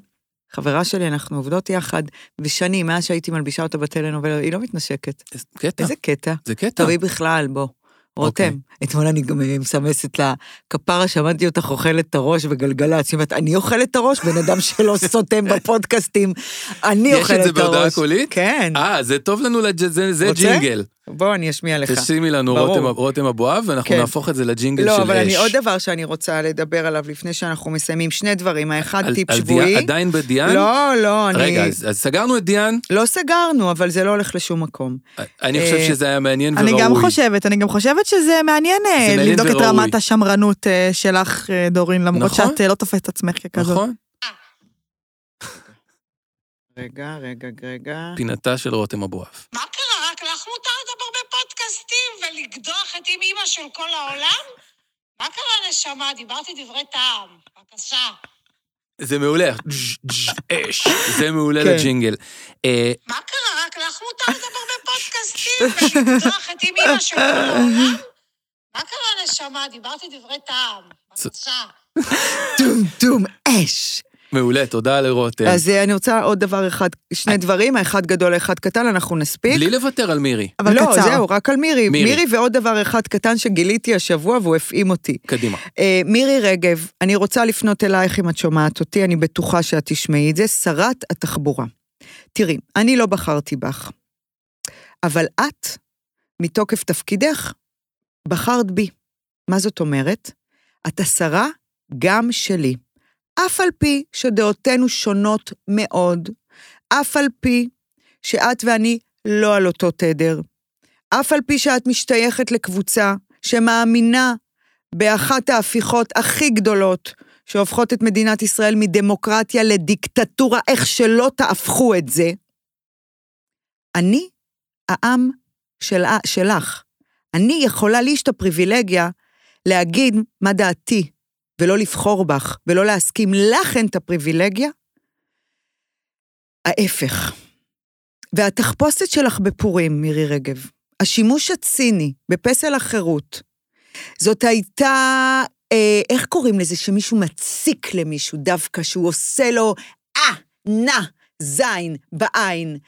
חברה שלי, אנחנו עובדות יחד, ושנים, מאז שהייתי מלבישה אותה בטלנובל, היא לא מתנשקת.
איזה קטע,
איזה קטע.
זה קטע.
טוב, היא בכלל, בוא.
אוקיי.
רותם, אה. אתמול אני גם אה, מסמסת לה, כפרה, שמעתי אותך אוכלת את הראש בגלגלצ. היא אומרת, אני אוכלת את הראש? בן אדם שלא סותם בפודקאסטים, אני
יש את
אוכלת את הראש.
זה בהודעה קולית?
כן.
אה, זה טוב לנו, לג'- זה זה
רוצה?
ג'ינגל.
בוא, אני אשמיע לך.
תשימי לנו
ברור.
רותם- רותם אבואב, ואנחנו
כן.
נהפוך את זה לג'ינגל של אה, אש.
לא, אבל אני עוד דבר שאני רוצה לדבר עליו לפני שאנחנו מסיימים, שני דברים, האחד
על-
טיפ
על
שבועי.
דיאן- עדיין בדיאן?
לא, לא, אני...
רגע, אז אז סגרנו את דיאן,
לא סגרנו, אבל זה לא הולך לשום מקום.
אני חושב
אה,
שזה היה מעניין וראוי.
אני גם חושבת, אני גם חושבת שזה מעניין אה,
זה מעניין
לבדוק את
וראוי.
רמת השמרנות אה, שלך, אה, דורין, למרות
נכון.
שאת אה, לא תופסת את עצמך ככזאת.
נכון?
רגע, רגע, רגע.
פינתה של רותם אבואב.
מה קרה? רק לך מותר לדבר בפודקאסטים ולקדוח את עם אימא של כל העולם? מה קרה, נשמה? דיברתי דברי טעם. בבקשה.
זה מעולה, אש, זה מעולה
כן.
לג'ינגל. אה,
מה קרה? רק לך מותר לדבר בפודקאסטים ולקדוח את עם אימא של כל העולם? מה קרה, נשמה? דיברתי דברי טעם. בבקשה.
טום טום אש.
מעולה, תודה לרותם.
כן.
אז אה, אני רוצה עוד דבר אחד,
אה.
שני דברים, האחד גדול, האחד קטן, אנחנו נספיק.
בלי לוותר על מירי,
אבל
לא,
קצר.
זהו, רק על מירי.
מירי.
מירי ועוד דבר אחד קטן שגיליתי השבוע והוא הפעים אותי.
קדימה.
אה, מירי רגב, אני רוצה לפנות אלייך אם את שומעת אותי, אני בטוחה שאת תשמעי את זה, שרת התחבורה. תראי, אני לא בחרתי בך, אבל את, מתוקף תפקידך, בחרת בי. מה זאת אומרת? את השרה גם שלי. אף על פי שדעותינו שונות מאוד, אף על פי שאת ואני לא על אותו תדר, אף על פי שאת משתייכת לקבוצה שמאמינה באחת ההפיכות הכי גדולות שהופכות את מדינת ישראל מדמוקרטיה לדיקטטורה, איך שלא תהפכו את זה. אני העם של, שלך. אני יכולה לי יש את הפריבילגיה להגיד מה דעתי, ולא לבחור בך, ולא להסכים. לך אין את הפריבילגיה. ההפך. והתחפושת שלך בפורים, מירי רגב, השימוש הציני בפסל החירות, זאת הייתה, אה, איך קוראים לזה, שמישהו מציק למישהו דווקא, שהוא עושה לו אה, נא, זין, בעין.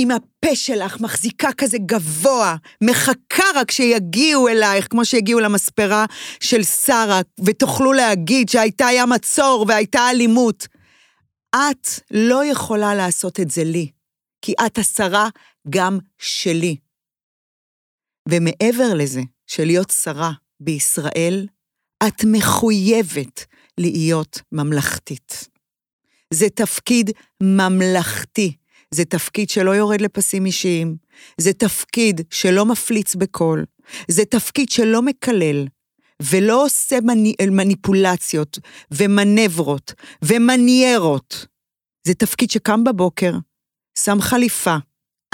עם הפה שלך, מחזיקה כזה גבוה, מחכה רק שיגיעו אלייך, כמו שהגיעו למספרה של שרה, ותוכלו להגיד שהייתה ים מצור והייתה אלימות. את לא יכולה לעשות את זה לי, כי את השרה גם שלי. ומעבר לזה, שלהיות שרה בישראל, את מחויבת להיות ממלכתית. זה תפקיד ממלכתי. זה תפקיד שלא יורד לפסים אישיים. זה תפקיד שלא מפליץ בקול. זה תפקיד שלא מקלל, ולא עושה מני, מניפולציות, ומנברות, ומניירות. זה תפקיד שקם בבוקר, שם חליפה,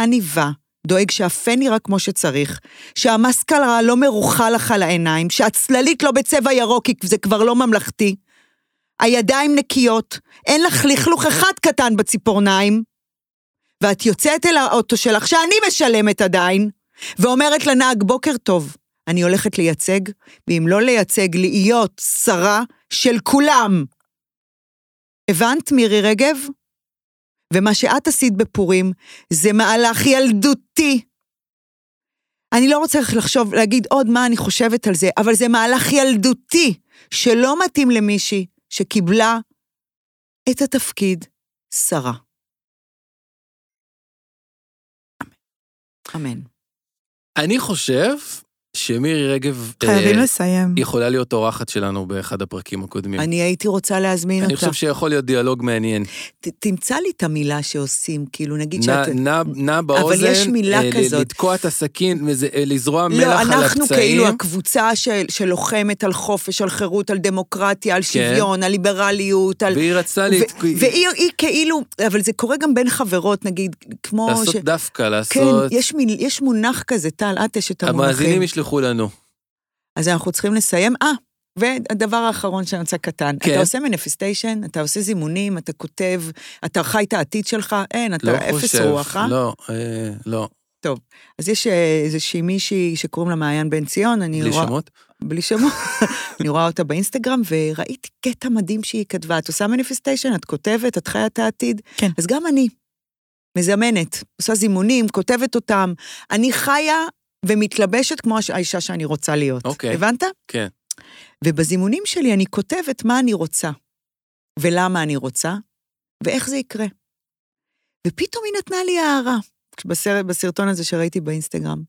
עניבה, דואג שהפה נראה כמו שצריך, שהמסקרה לא מרוחה לך על העיניים, שהצללית לא בצבע ירוק כי זה כבר לא ממלכתי. הידיים נקיות, אין לך לכלוך אחד קטן בציפורניים, ואת יוצאת אל האוטו שלך, שאני משלמת עדיין, ואומרת לנהג, בוקר טוב, אני הולכת לייצג, ואם לא לייצג, להיות שרה של כולם. הבנת, מירי רגב? ומה שאת עשית בפורים זה מהלך ילדותי. אני לא רוצה לחשוב, להגיד עוד מה אני חושבת על זה, אבל זה מהלך ילדותי שלא מתאים למישהי שקיבלה את התפקיד שרה. אמן.
אני חושב שמירי רגב אה,
חייבים לסיים.
יכולה להיות אורחת שלנו באחד הפרקים הקודמים.
אני הייתי רוצה להזמין
כן. אני
אותה.
חושב שיכול להיות דיאלוג מעניין.
ת- תמצא לי את המילה שעושים, כאילו, נגיד
נע-
שאת...
נע- נע באוזן,
יש מילה
אה, ל-
כזאת.
לתקוע את הסכין, וזה- אה, לזרוע מלח על
לא,
הפצעים.
אנחנו כאילו הקבוצה של, שלוחמת על חופש, על חירות, על דמוקרטיה,
כן.
על שוויון, על ליברליות, על...
והיא רצתה
ו-
להתק-
והיא היא כאילו, אבל זה קורה גם בין חברות, נגיד, כמו...
לעשות
ש-
דווקא,
כן,
לעשות...
יש, מיל, יש מונח כזה, טל, את יש את המונחים.
המאזינים ישלחו לנו.
אז אנחנו צריכים לסיים. אה, והדבר האחרון שאני רוצה קטן.
כן.
אתה עושה מנפיסטיישן, אתה עושה זימונים, אתה כותב, אתה חי את העתיד שלך, אין, אתה
לא
אפס
חושב.
רוח, אה?
לא, אה, לא.
טוב, אז יש אה, איזושהי מישהי שקוראים לה מעיין בן ציון, אני
בלי
רואה...
שמות?
בלי שמות. אני רואה אותה באינסטגרם, וראיתי קטע מדהים שהיא כתבה. את עושה מניפיסטיישן, את כותבת, את חיה את העתיד.
כן.
אז גם אני מזמנת, עושה זימונים, כותבת אותם. אני חיה ומתלבשת כמו הש- האישה שאני רוצה להיות.
אוקיי.
הבנת?
כן.
ובזימונים שלי אני כותבת מה אני רוצה, ולמה אני רוצה, ואיך זה יקרה. ופתאום היא נתנה לי הערה, בסרט, בסרטון הזה שראיתי באינסטגרם.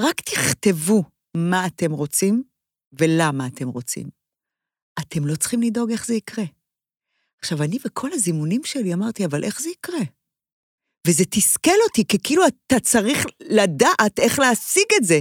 רק תכתבו מה אתם רוצים ולמה אתם רוצים. אתם לא צריכים לדאוג איך זה יקרה. עכשיו, אני בכל הזימונים שלי אמרתי, אבל איך זה יקרה? וזה תסכל אותי, כי כאילו אתה צריך לדעת איך להשיג את זה.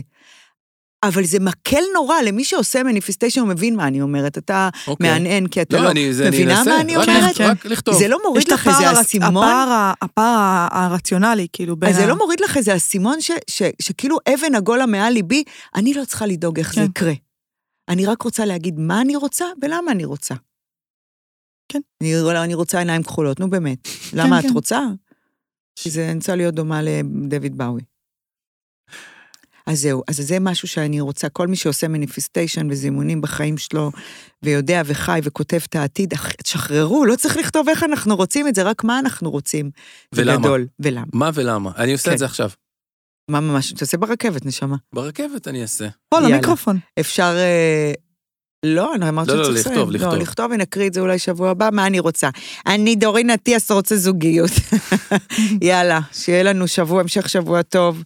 אבל זה מקל נורא למי שעושה מניפיסטיישן, הוא מבין מה אני אומרת. אתה
אוקיי.
מהנהן כי אתה לא,
לא, אני זה- אני
מבינה
אנסה.
מה אני
רק
אומרת?
לכ- רק לכתוב.
זה לא
יש
מוריד
את
לך
הפער
איזה
הרצ-
אסימון?
הפער ה- הפער ה- הרציונלי, כאילו, בין
אז זה
ה-
לא מוריד לך איזה אסימון ש, ש, שכאילו אבן הגולה מעל ליבי, אני לא צריכה לדאוג איך זה
כן.
יקרה. אני רק רוצה להגיד מה אני רוצה ולמה אני רוצה.
כן.
אני, לא, אני רוצה עיניים כחולות, נו באמת. למה את
כן.
רוצה? כי זה אני רוצה להיות דומה לדויד באווי. אז זהו, אז זה משהו שאני רוצה, כל מי שעושה מניפיסטיישן וזימונים בחיים שלו, ויודע וחי וכותב את העתיד, אח- תשחררו, לא צריך לכתוב איך אנחנו רוצים את זה, רק מה אנחנו רוצים. זה
ולמה.
גדול, ולמה.
מה ולמה? אני עושה
כן.
את זה עכשיו.
מה ממש, תעשה ברכבת, נשמה.
ברכבת אני אעשה.
פה,
יאללה.
למיקרופון.
אפשר... אה, לא, אני אמרת
לא, לא,
שצריך לסיים.
לכתוב, לכתוב.
לא, לכתוב ונקריא את זה אולי שבוע הבא, מה אני רוצה. אני דורין אטיאס רוצה זוגיות. יאללה, שיהיה לנו שבוע, המשך שבוע טוב.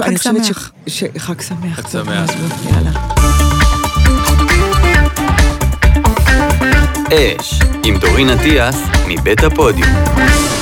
אני חושבת ש-
שמח.
ש... חג שמח.
חג שמח.
יאללה.
אש, עם דורין אטיאס, מבית הפודיום.